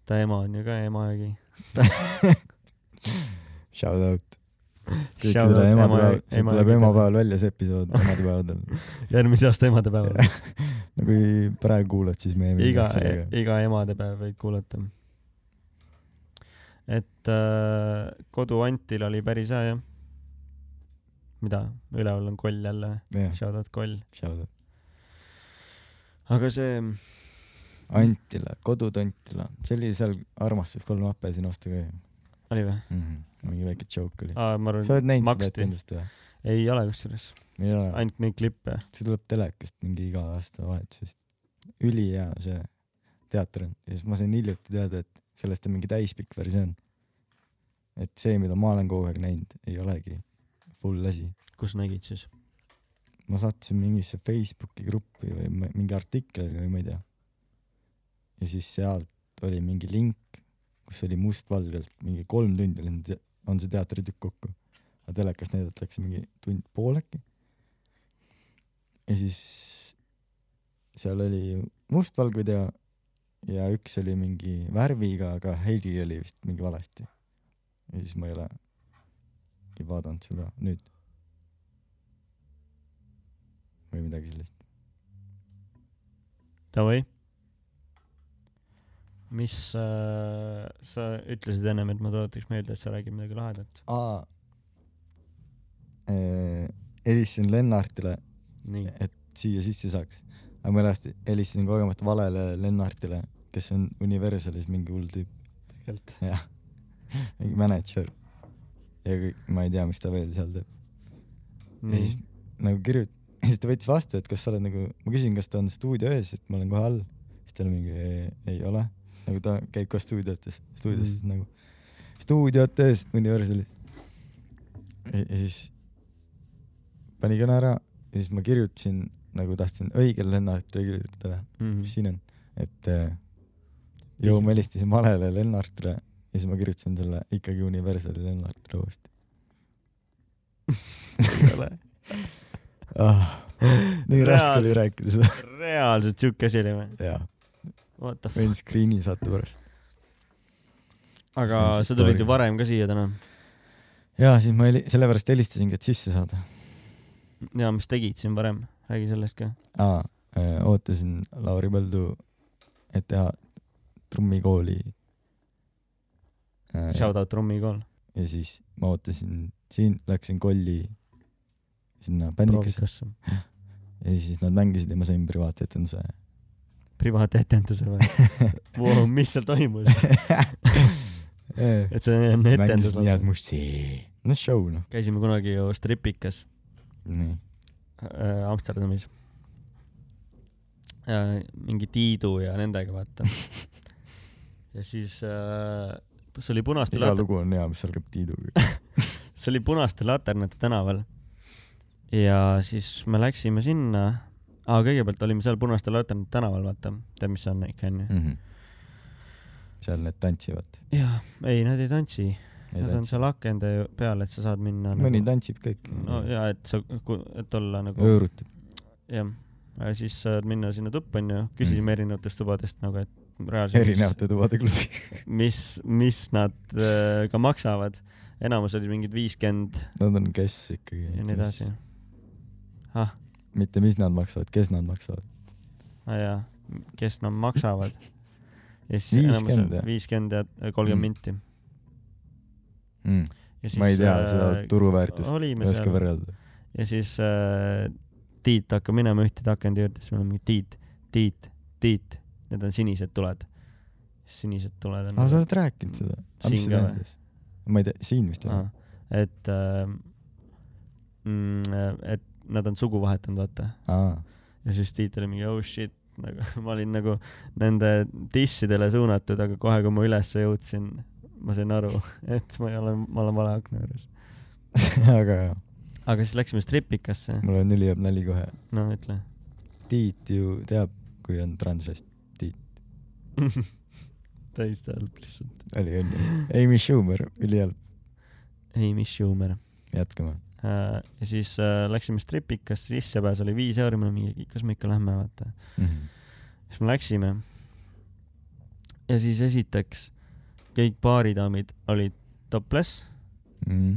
B: ta ema on ju ka ema Jõgi .
A: <laughs> Shout out .
B: Shout out
A: kõikidele emadepäeval ,
B: ema-
A: siit
B: ema-
A: tuleb emapäeval välja see episood emadepäevadel .
B: järgmise aasta emadepäeval ,
A: no kui praegu kuulad , siis me eelmine
B: <laughs> iga e-,
A: kord , sellega .
B: iga emadepäev võid kuulata . et äh, kodu Antil oli päris hea jah . mida , üleval on koll jälle ,
A: jah ,
B: shout out koll ,
A: shout out .
B: aga see
A: Antila , kodutantila , see oli seal Armastus kolm appe siin osta ka ju
B: oli või ?
A: mm . -hmm. mingi väike joke oli .
B: aa , ma arvan ,
A: sa oled näinud seda
B: Ah, maksti.
A: etendust või ?
B: ei ole kusjuures ,
A: ei ole ,
B: ainult neid klippe .
A: see tuleb telekast mingi iga aasta vahetusest . ülihea see teater on ja siis ma sain hiljuti teada , et sellest on mingi täispikk versioon . et see , mida ma olen kogu aeg näinud , ei olegi full asi .
B: kus nägid siis ?
A: ma sattusin mingisse Facebooki gruppi või ma- mingi artikli või ma ei tea . ja siis sealt oli mingi link , kus oli mustvalgelt mingi kolm tundi oli see- on see teatritükk kokku , aga telekas näidatakse mingi tund pool äkki . ja siis seal oli mustvalge video ja üks oli mingi värviga , aga heli oli vist mingi valesti . ja siis ma ei ole vaadanud seda nüüd või midagi sellist .
B: Davai . mis äh, , sa ütlesid ennem , et ma tuletaks meelde , et sa räägid midagi lahedat .
A: aa . e, helistasin Lennartile ,
B: nii ,
A: et siia sisse saaks , aga ma ennast helistasin kogemata valele Lennartile , kes on Universalis mingi hull tüüp ,
B: tegelikult .
A: jah , mingi mänedžer . ja kõik , ma ei tea , mis ta veel seal teeb . ja
B: nii
A: siis , nagu kirjut- , siis ta võttis vastu , et kas sa oled nagu , ma küsin , kas ta on stuudio ees , et ma olen kohe all . siis ta oli mingi ei, ei ole , nagu ta käib koos stuudiotes , stuudiotes
B: Mhm.
A: mm. nagu , stuudiotes Universalis . ja siis pani kõne ära ja siis ma kirjutasin nagu tahtsin õigele Lennartile kirjutada ,
B: Mhm.
A: mis siin on , et äh, ju ma helistasin valele Lennartile ja siis ma kirjutasin talle ikkagi Universali Lennartile uuesti . ah, . nii raske oli rääkida seda .
B: reaalselt siuke asi oli või ?
A: jaa ,
B: What the fuck ?
A: võin screen'i saata pärast .
B: aga
A: see on see
B: sa tulid ju
A: story.
B: varem ka siia täna .
A: jaa , siis ma heli- , sellepärast helistasingi , et sisse saada .
B: ja mis tegid siin varem , räägi sellest ka .
A: aa , ootasin Lauri Põldu , et teha trummikooli . ja
B: Shout out trummikool .
A: siis ma ootasin siin , läksin kolli sinna bändikasse
B: proovikasse .
A: ja siis nad mängisid ja ma sain
B: <laughs>
A: privaatetenduse .
B: privaatetenduse või ? <laughs> Vau , mis seal toimus ? et see on etendus
A: mängisid nii head
B: lausa .
A: musti . no show noh .
B: käisime kunagi ju Stripikas
A: nii .
B: äh, Amsterdamis äh, . mingi Tiidu ja nendega , vaata . ja siis äh, , see oli punaste
A: iga
B: later- ,
A: lugu on hea , mis algab
B: <laughs>
A: Tiiduga .
B: see oli punaste laternate tänaval . ja siis me läksime sinna ah, , kõigepealt olime seal punaste laternate tänaval , vaata , tead , mis see on ikka
A: Mm.
B: onju .
A: Mhm. seal need tantsivad .
B: jah , ei , nad ei tantsi , nad on seal akende ju- peal , et sa saad minna
A: mõni
B: nagu...
A: tantsib kõik .
B: no ja et sa , et olla nagu
A: hõõrutab .
B: jah , siis saad minna sinna tuppa onju , küsisime mm. erinevatest tubadest nagu , et reaalselt ,
A: erinevate tubade klubi .
B: <laughs> mis , mis nad äh, ka maksavad . enamus olid mingid viiskümmend
A: Nad on kes ikkagi .
B: ja nii edasi . ah ,
A: mitte mis nad maksavad , kes nad maksavad .
B: ah jaa , kes nad maksavad . ja siis
A: 50
B: enamus
A: või?
B: viiskümmend ja äh, kolmkümmend
A: Mm.
B: minti .
A: Mm. ma ei tea
B: äh,
A: seda turuväärtust , ei
B: olime
A: oska
B: seal
A: võrrelda .
B: ja siis äh, Tiit hakkab minema ühtede akende juurde , siis meil on mingi Tiit , Tiit , Tiit , need on sinised tuled . sinised tuled on
A: aa , sa oled rääkinud seda ?
B: siin ka või ?
A: ma ei tea , siin vist ei ole .
B: ah, . et äh, , et nad on sugu vahetanud , vaata .
A: aa , <laughs>
B: ja siis Tiit oli mingi oh shit , nagu <laughs> ma olin nagu nende dissidele suunatud , aga kohe , kui ma ülesse jõudsin , ma sain aru , <laughs> et ma ei ole , ma olen vale akna juures .
A: aga jah ,
B: aga siis läksime stripikasse ,
A: mul on ülihea nali kohe .
B: no ütle .
A: Tiit ju teab , kui on transvest ,
B: <laughs> täiesti halb lihtsalt .
A: oli
B: <laughs>
A: onju . Amy Schumer , ülihea ,
B: ei , mis Schumer .
A: jätkame .
B: ja siis äh, läksime stripikasse , sissepääs oli viis euri , mul on mingi , kas me ikka lähme , vaata . Mhm. siis me läksime . ja siis esiteks kõik baaridaamid olid topless
A: Mhm.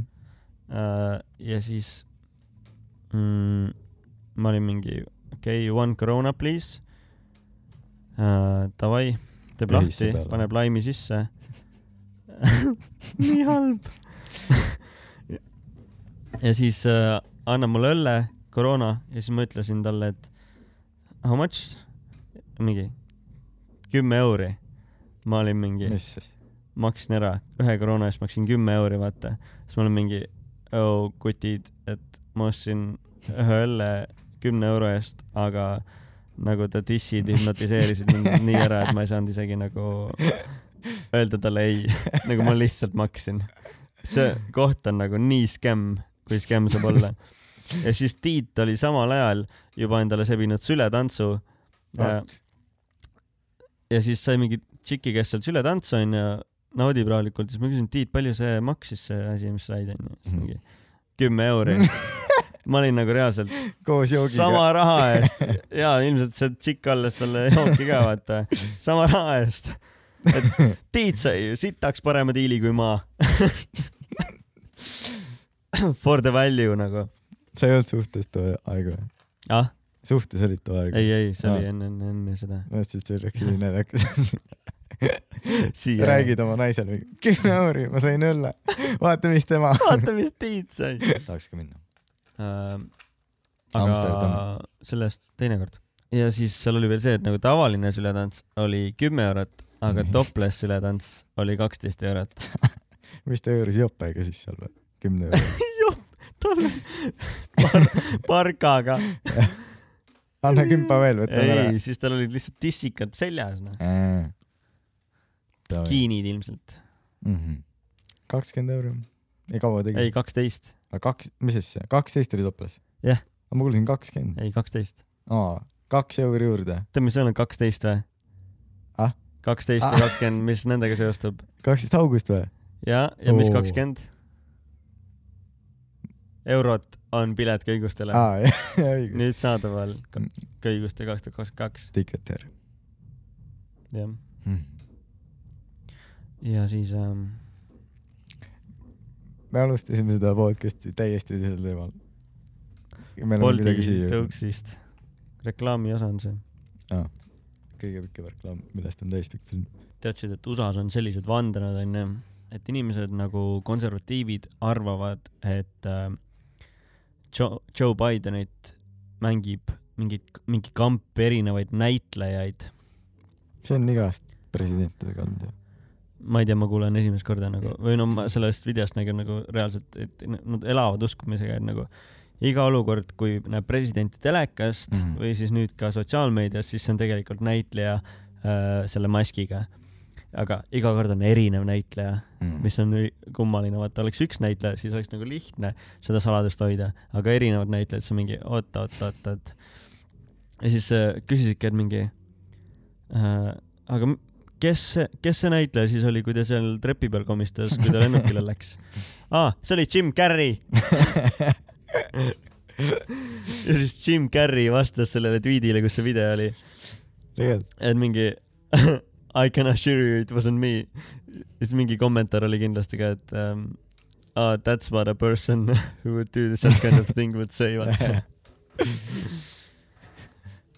B: äh, ja siis mm, ma olin mingi okei okay, , one corona please äh, . Davai , teeb
A: Lehisse
B: lahti ,
A: peale.
B: paneb laimi sisse . <laughs> nii halb . ja siis äh, annab mulle õlle , koroona ja siis ma ütlesin talle , et how much , mingi kümme euri . ma olin mingi
A: mis
B: <laughs>
A: siis ?
B: maksin ära , ühe koroona eest maksin kümme euri , vaata . siis ma olen mingi , oo kutid , et ma ostsin ühe õlle kümne euro eest , aga nagu ta dissid hüpnotiseerisid mind nii ära , et ma ei saanud isegi nagu öelda talle ei , <laughs> nagu ma lihtsalt maksin . see koht on nagu nii skämm , kui skämm saab olla . ja siis Tiit oli samal ajal juba endale sebinud sületantsu
A: Ah.
B: ja, ja siis sai mingi tšiki , kes seal sületantsu onju , naudib rahulikult , siis ma küsin , Tiit , palju see maksis , see asi , mis sa said onju , siis
A: Mhm.
B: mingi kümme
A: <laughs>
B: euri . ma olin nagu reaalselt
A: koos joogiga .
B: sama raha eest ja ilmselt see tšikk alles talle
A: <laughs>
B: jooki ka vaata , sama raha eest . et Tiit sai ju sitaks parema diili kui ma . For the value nagu .
A: sa ei olnud suhtes too aeg või ?
B: ah ,
A: suhtes olid too aeg ?
B: ei , ei , see oli
A: Aa.
B: enne , enne , enne seda .
A: ma mõtlesin , et see oleks nii
B: <laughs>
A: naljakas .
B: siia .
A: räägid oma naisele , kümme euri , ma sain õlle . vaata , mis tema .
B: vaata , mis Tiit sai .
A: <laughs> tahaks ka minna .
B: Äh, aga
A: Amsterdam.
B: sellest teinekord . ja siis seal oli veel see , et nagu tavaline sületants oli kümme eurot , aga
A: Nii.
B: topless sületants oli kaksteist
A: <laughs>
B: eurot .
A: mis ta hõõrus jopega siis seal või ? kümne euri .
B: tal , parkaga .
A: anna kümpa veel , <laughs> võtame ära
B: ei ,. siis tal olid lihtsalt tissikad seljas , noh . kiinid ilmselt .
A: Mhm. kakskümmend euri . ei kaua tegi ?
B: ei , kaksteist .
A: aga kaks , mis asja , kaksteist oli toplas ?
B: Jah. .
A: ma kuulsin kakskümmend .
B: ei , kaksteist .
A: aa , kaks euri juurde .
B: tead , mis on kaksteist või
A: Ah? ?
B: kaksteist ja
A: Ah.
B: kakskümmend , mis nendega seostub ?
A: kaksteist august või ?
B: ja , ja mis
A: Oo.
B: kakskümmend ? eurot on pilet kõigustele .
A: aa , <laughs> jah , õigus .
B: nüüd saadaval
A: Mm.
B: ka- kõiguste kaks tuhat kakskümmend kaks ,
A: Ticketer .
B: jah .
A: Mhm.
B: ja siis ähm,
A: me alustasime seda podcast'i täiesti teisel teemal . meil on midagi
B: Bolti
A: siia .
B: tõuksist , reklaamiosa on see .
A: kõige pikem reklaam , millest on täispikk film .
B: teadsid , et USA-s on sellised vandenõud onju , et inimesed nagu konservatiivid arvavad , et äh, Joe , Joe Bidenit mängib mingit , mingi kamp erinevaid näitlejaid .
A: see on igast presidentidega olnud ju .
B: ma ei tea , ma kuulen esimest korda nagu või no ma sellest videost nägin nagu reaalselt , et n- nad elavad uskumisega , et nagu iga olukord , kui näeb presidenti telekast mm
A: Mhm.
B: -hmm. või siis nüüd ka sotsiaalmeedias , siis see on tegelikult näitleja äh, selle maskiga . aga iga kord on erinev näitleja <laughs> mis on üli- kummaline , vaata oleks üks näitleja , siis oleks nagu lihtne seda saladust hoida , aga erinevad näitlejad , siis on mingi oot , oot , oot , oot . ja siis äh, küsisidki , et mingi äh, , aga m- kes , kes see näitleja siis oli , kui ta seal trepi peal komistas , kui ta lennukile läks ? aa , see oli Jim Carrey . ja siis Jim Carrey vastas sellele tweetile , kus see video oli ,
A: tegelikult
B: et mingi <laughs> I can assure you it wasn't me . siis mingi kommentaar oli kindlasti ka , et um, uh, that's what a person <laughs> who would do this kind of thing would say .
A: <laughs>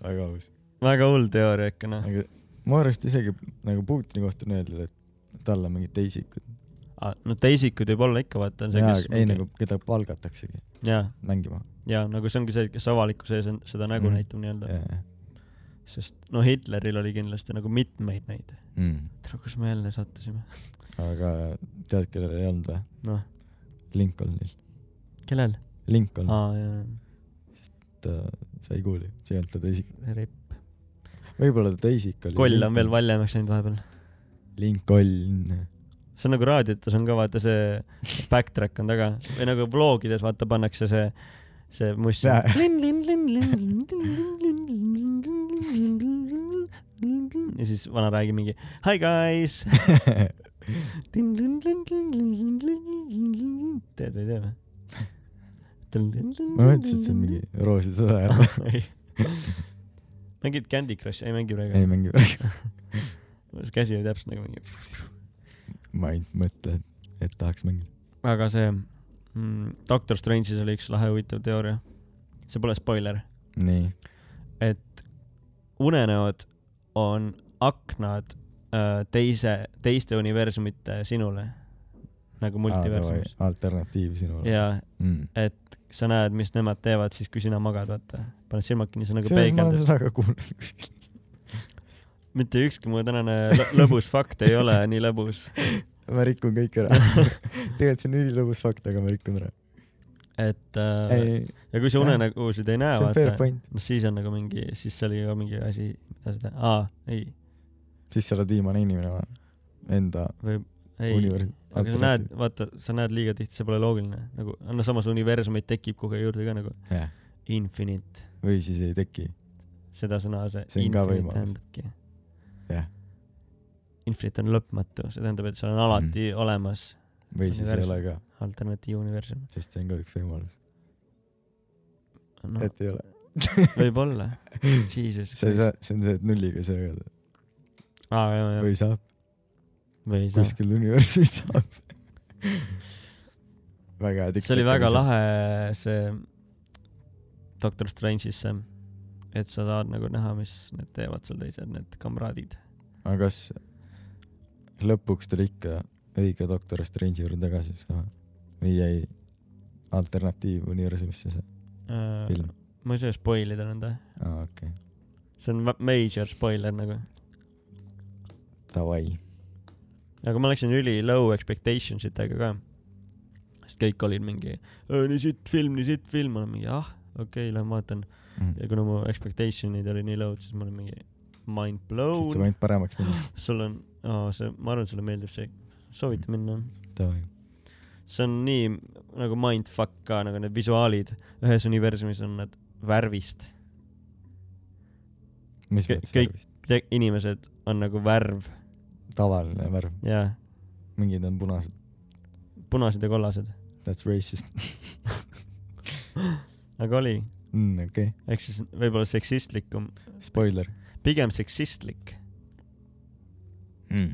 A: väga aus .
B: väga hull teooria ikka noh .
A: aga mu arust isegi nagu Putini kohta on öeldud , et tal on mingid teisikud .
B: Ah, no teisikud võib olla ikka vaata , on see , kes .
A: ei nagu , keda palgataksegi
B: ja ,
A: mängima .
B: ja nagu see ongi see , kes avalikkuse ees on, seda nägu
A: Mhm.
B: mm. näitab nii-öelda , sest no Hitleril oli kindlasti nagu mitmeid neid . tere , kus me jälle sattusime ?
A: Mm. aga tead , kellel ei olnud või ?
B: noh ,
A: Lincolnil .
B: kellel ?
A: Lincoln ,
B: aa jaa ,
A: ta sai kuuli , see äh, ei olnud ta teisik .
B: Rip .
A: võib-olla ta teisik oli .
B: koll on veel . valjemaks läinud vahepeal .
A: Lincoln . <laughs>
B: see on nagu raadiotes on ka vaata see backtrack on taga või nagu vlogides vaata pannakse see , see must .
A: Jaa.
B: ja siis vana räägib mingi hi guys . tead või ei tea või ?
A: ma mõtlesin , et see on mingi Roosi sõda
B: <laughs>
A: ja
B: mingi . mängid Candy Crushi , ei mängi
A: ei
B: praegu .
A: mängi .
B: käsi oli täpselt nagu mingi .
A: <laughs> ma ainult mõtlen , et tahaks mängida .
B: aga see mm, Doctor Strange'is oli üks lahe huvitav teooria . see pole spoiler ,
A: nii .
B: et unenäod on aknad öö, teise , teiste universumite sinule nagu multiversumis .
A: alternatiiv sinule .
B: ja
A: Mm.
B: sa näed , mis nemad teevad siis , kui sina magad , vaata . paned silmad kinni , see on nagu
A: selles ma olen
B: peegeldus .
A: seda ka kuulnud kuskil .
B: mitte ükski mu tänane lõ- lõbus fakt ei ole nii lõbus ,
A: ma rikun kõik
B: <laughs>
A: ära . tegelikult see on ülilõbus fakt , aga ma rikun ära .
B: et äh,
A: ei ,
B: ja kui sa
A: jah.
B: unenägusid ei näe ,
A: see on fair
B: vaata ,
A: point .
B: noh siis on nagu mingi , siis see oli ka mingi asi , mida sa tead , aa , ei ,
A: siis sa oled viimane inimene või ? Enda
B: või ei ,
A: universi .
B: aga sa näed , vaata , sa näed liiga tihti , see pole loogiline , nagu no samas universumeid tekib kogu aeg juurde ka nagu
A: jah ,
B: infinite ,
A: või siis ei teki .
B: seda sõna see,
A: See on ka võimalus.
B: tähendabki .
A: Jah.
B: Infinite on lõpmatu , see tähendab , et seal on alati
A: Mhm.
B: mm. olemas
A: või siis ei
B: Universum.
A: ole ka ,
B: alternatiivuniversum .
A: sest see on ka üks võimalus ,
B: no
A: et <laughs> ei ole .
B: võib-olla , jesus
A: sa ei saa , see on see , et nulliga ei saa öelda .
B: ah, .
A: või saab ,
B: või ei saa .
A: kuskil universumis saab . väga hea .
B: see oli väga . lahe see Doctor Strange'is see , et sa saad nagu näha , mis need teevad seal teised , need kamraadid .
A: aga kas lõpuks tuli ikka õige doktor Strange'i juurde tagasi siis ka või ? või jäi alternatiivuniversumisse see film ?
B: Äh, ma ei saa spoil ida nõnda ,
A: aa , okei okay. ,
B: see on va- major spoiler nagu ,
A: davai .
B: aga ma läksin üli low expectations itega ka . sest kõik olid mingi "Äh, nii sitt film , nii sitt film , ma olen mingi ah , okei okay, , lähen vaatan .
A: Mm.
B: ja kuna mu expectation'id olid nii low , siis ma olin mingi mind
A: siit see
B: blown .
A: point paremaks minnes .
B: sul on oh, , see , ma arvan , sulle meeldib see , soovita minna .
A: Davai.
B: see on nii nagu mindfuck ka nagu need visuaalid ühes universumis on nad värvist .
A: mis
B: Kõ-
A: mõttes
B: kõik-
A: värvist ?
B: inimesed on nagu värv
A: tavaline värv ,
B: ja
A: mingid on punased .
B: punased ja kollased ,
A: That's racist
B: aga oli ,
A: mm, . okei okay. ,
B: ehk siis võib-olla seksistlikum ,
A: spoiler
B: pigem seksistlik ,
A: mm. .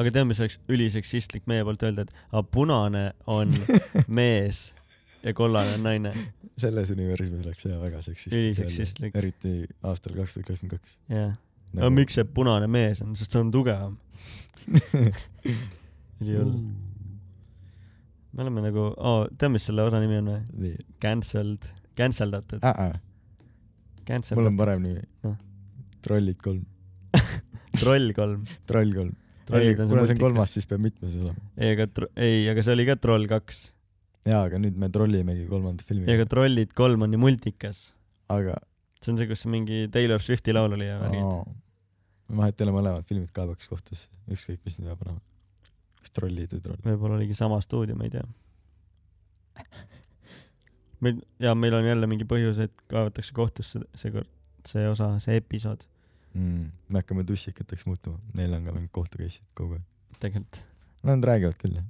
B: aga tead , mis oleks üliseksistlik meie poolt öelda , et "Aa, punane
A: <laughs>
B: on mees ja kollane on naine .
A: selles universumis oleks see väga seksistlik
B: Üliseksistlik. .
A: eriti aastal kaks tuhat kakskümmend kaks .
B: jah ,
A: Nagu-
B: aga miks see punane mees on , sest ta on tugevam .
A: <laughs>
B: ülihull ,
A: Hmm.
B: me oleme nagu oh, , tead , mis selle osa nimi on või ?
A: nii ,
B: Cancelled , canceldatud ,
A: mul on
B: canceldatud ,
A: parem nimi
B: Noh. .
A: trollid kolm ,
B: troll kolm .
A: troll kolm . ei ,
B: trollid on
A: kuna see on
B: multikas.
A: kolmas , siis peab mitmes olema .
B: ei , aga tro- , ei , aga see oli ka Troll kaks
A: jaa , aga nüüd me trollimegi kolmanda
B: ja
A: filmiga
B: ka , Trollid kolm on ju multikas .
A: aga
B: see on see , kus mingi Taylor Swifti laul oli ja värgid .
A: aa, vahet ei ole , mõlemad filmid kaebaks kohtusse , ükskõik mis nime panema . kas trollid või troll .
B: võib-olla oligi sama stuudio , ma ei tea . meil ja meil on jälle mingi põhjus , et kaevatakse kohtusse seekord see osa , see episood
A: mm. . me hakkame tussikateks muutuma , neil on ka mingid kohtu case'id kogu aeg .
B: tegelikult .
A: Nad räägivad küll jah ,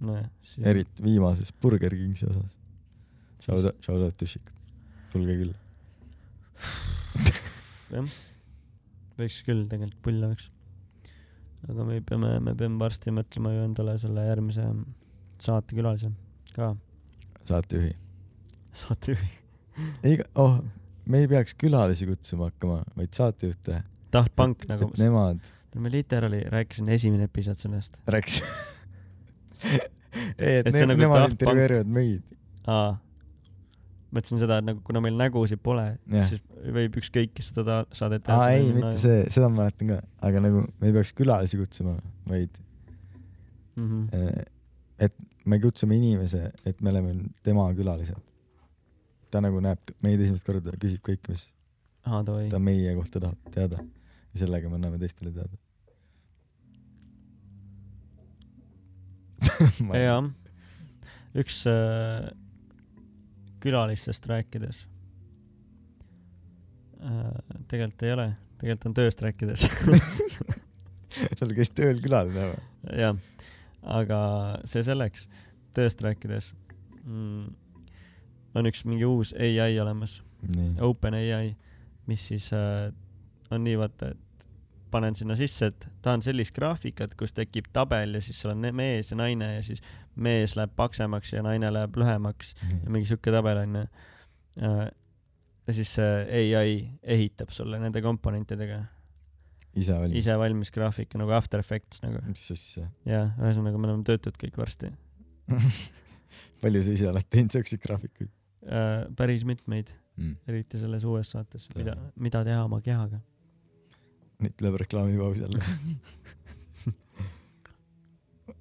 B: nojah , siis
A: eriti viimases Burger Kingsi osas . Shout
B: siis
A: out , shout out tussikad , tulge küll .
B: võiks küll tegelikult pull oleks . aga me peame , me peame varsti mõtlema ju endale selle järgmise saatekülalise ka , <laughs>
A: saatejuhi .
B: saatejuhi .
A: iga , oh , me ei peaks külalisi kutsuma hakkama , vaid saatejuhte .
B: Daft Punk nagu
A: et , nemad
B: ma literaali rääkisin esimene episood sellest .
A: rääkis . <laughs> ei , et,
B: Et
A: et
B: see on
A: ne, nagu
B: nagu
A: nemad
B: Daft Punk.
A: intervjueerivad meid .
B: aa , mõtlesin seda , et nagu kuna meil nägusid pole ,
A: Jah.
B: siis võib ükskõik , kes seda ta- saadet
A: aa ei , mitte see , seda ma mäletan ka , aga nagu me ei peaks külalisi kutsuma , vaid
B: mm . -hmm.
A: eh, et me kutsume inimese , et me oleme tema külalised . ta nagu näeb meid esimest korda , küsib kõik , mis
B: aa , davai
A: ta . meie kohta tahab teada ja sellega me anname teistele <laughs> teada .
B: jah , üks äh, külalistest rääkides äh, . tegelikult ei ole , tegelikult on tööst rääkides . <laughs>
A: seal käis tööl külaline või ?
B: jah , aga see selleks , tööst rääkides mm, . on üks mingi uus ai olemas ,
A: nii ,
B: OpenAI , mis siis äh, on nii , vaata , et panen sinna sisse , et tahan sellist graafikat , kus tekib tabel ja siis sul on ne- mees ja naine ja siis mees läheb paksemaks ja naine läheb lühemaks ja mingi siuke tabel onju . ja siis see ai ehitab sulle nende komponentidega
A: ise oli .
B: ise valmis graafika nagu After Effects nagu .
A: mis asja ?
B: jaa , ühesõnaga me oleme töötud kõik varsti .
A: palju sa ise oled teinud siukseid graafikuid
B: Äh, päris mitmeid ,
A: mm. ?
B: eriti selles uues saates , mida
A: Jah. ,
B: mida teha oma kehaga .
A: nüüd tuleb reklaamipaus <laughs> jälle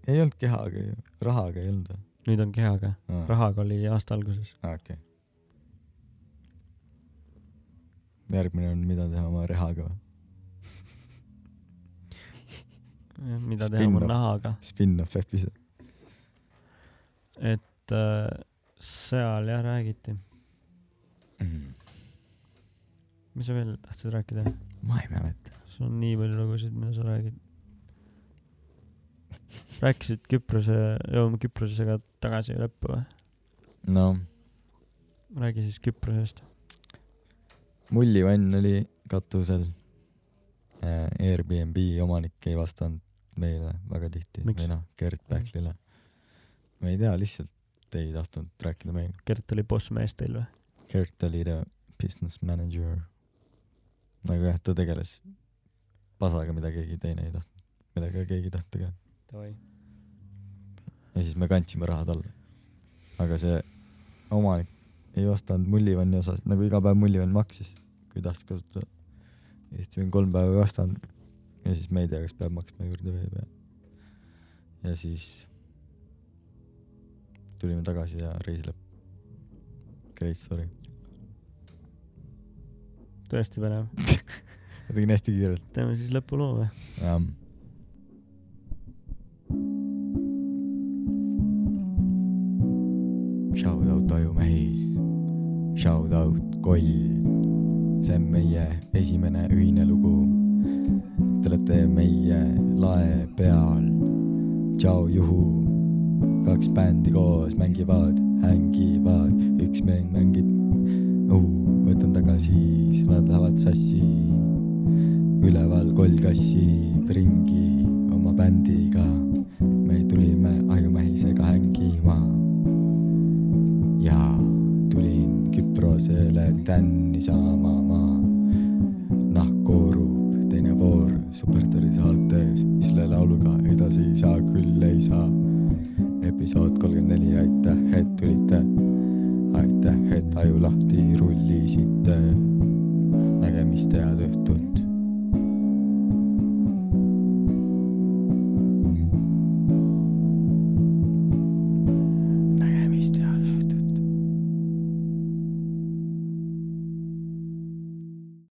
A: ei olnud kehaga ju , rahaga ei olnud
B: nüüd on kehaga ,
A: või ?
B: rahaga oli aasta alguses .
A: aa , okei . järgmine on , mida teha oma rehaga või ?
B: mida teha oma
A: Spin-off.
B: nahaga ,
A: Spin-off episood .
B: et äh, seal jah räägiti .
A: Mm.
B: mis sa veel tahtsid rääkida ?
A: ma ei mäleta .
B: sul on nii palju lugusid , mida sa räägid . rääkisid Küprose , jõuame Küprosega tagasi lõppu või ?
A: no ,
B: räägi siis Küprosest .
A: mullivann oli katusel . Airbnb omanik ei vastanud meile väga tihti
B: Miks?
A: või noh , Gerd Pähklile . ma ei tea , lihtsalt ei tahtnud rääkida meiega .
B: Gert oli bossmees teil või ?
A: Gert oli ta business manager . nagu jah , ta tegeles pasaga , mida keegi teine ei tahtnud , millega keegi ei tahtnud tegeleda .
B: Davai .
A: ja siis me kandsime raha talle . aga see omanik ei vastanud mullivanni osas , nagu iga päev mullivann maksis , kui tahtis kasutada . ja siis ta oli kolm päeva ei vastanud . ja siis me ei tea , kas peab maksma juurde või ei pea . ja siis tulime tagasi ja reis lõpp . Great story .
B: tõesti põnev .
A: ma tegin hästi kiirelt .
B: teeme siis lõpuloo või ?
A: Um. Shout out Ajumehis , shout out Koll , see on meie esimene ühine lugu . Te olete meie lae peal , tšau juhu , kaks bändi koos mängivad , hängivad , üks mees mängib uh, , võtan tagasi , siis nad lähevad sassi üleval kollkassib ringi oma bändiga . me tulime Ajumähisega hängima . ja tulin Küprosele tänni saama ma . nahk koorub , teine voor Superstari saates , selle lauluga edasi ei saa , küll ei saa . episood kolmkümmend neli , aitäh , et tulite . aitäh , et aju lahti rullisite . nägemist head õhtut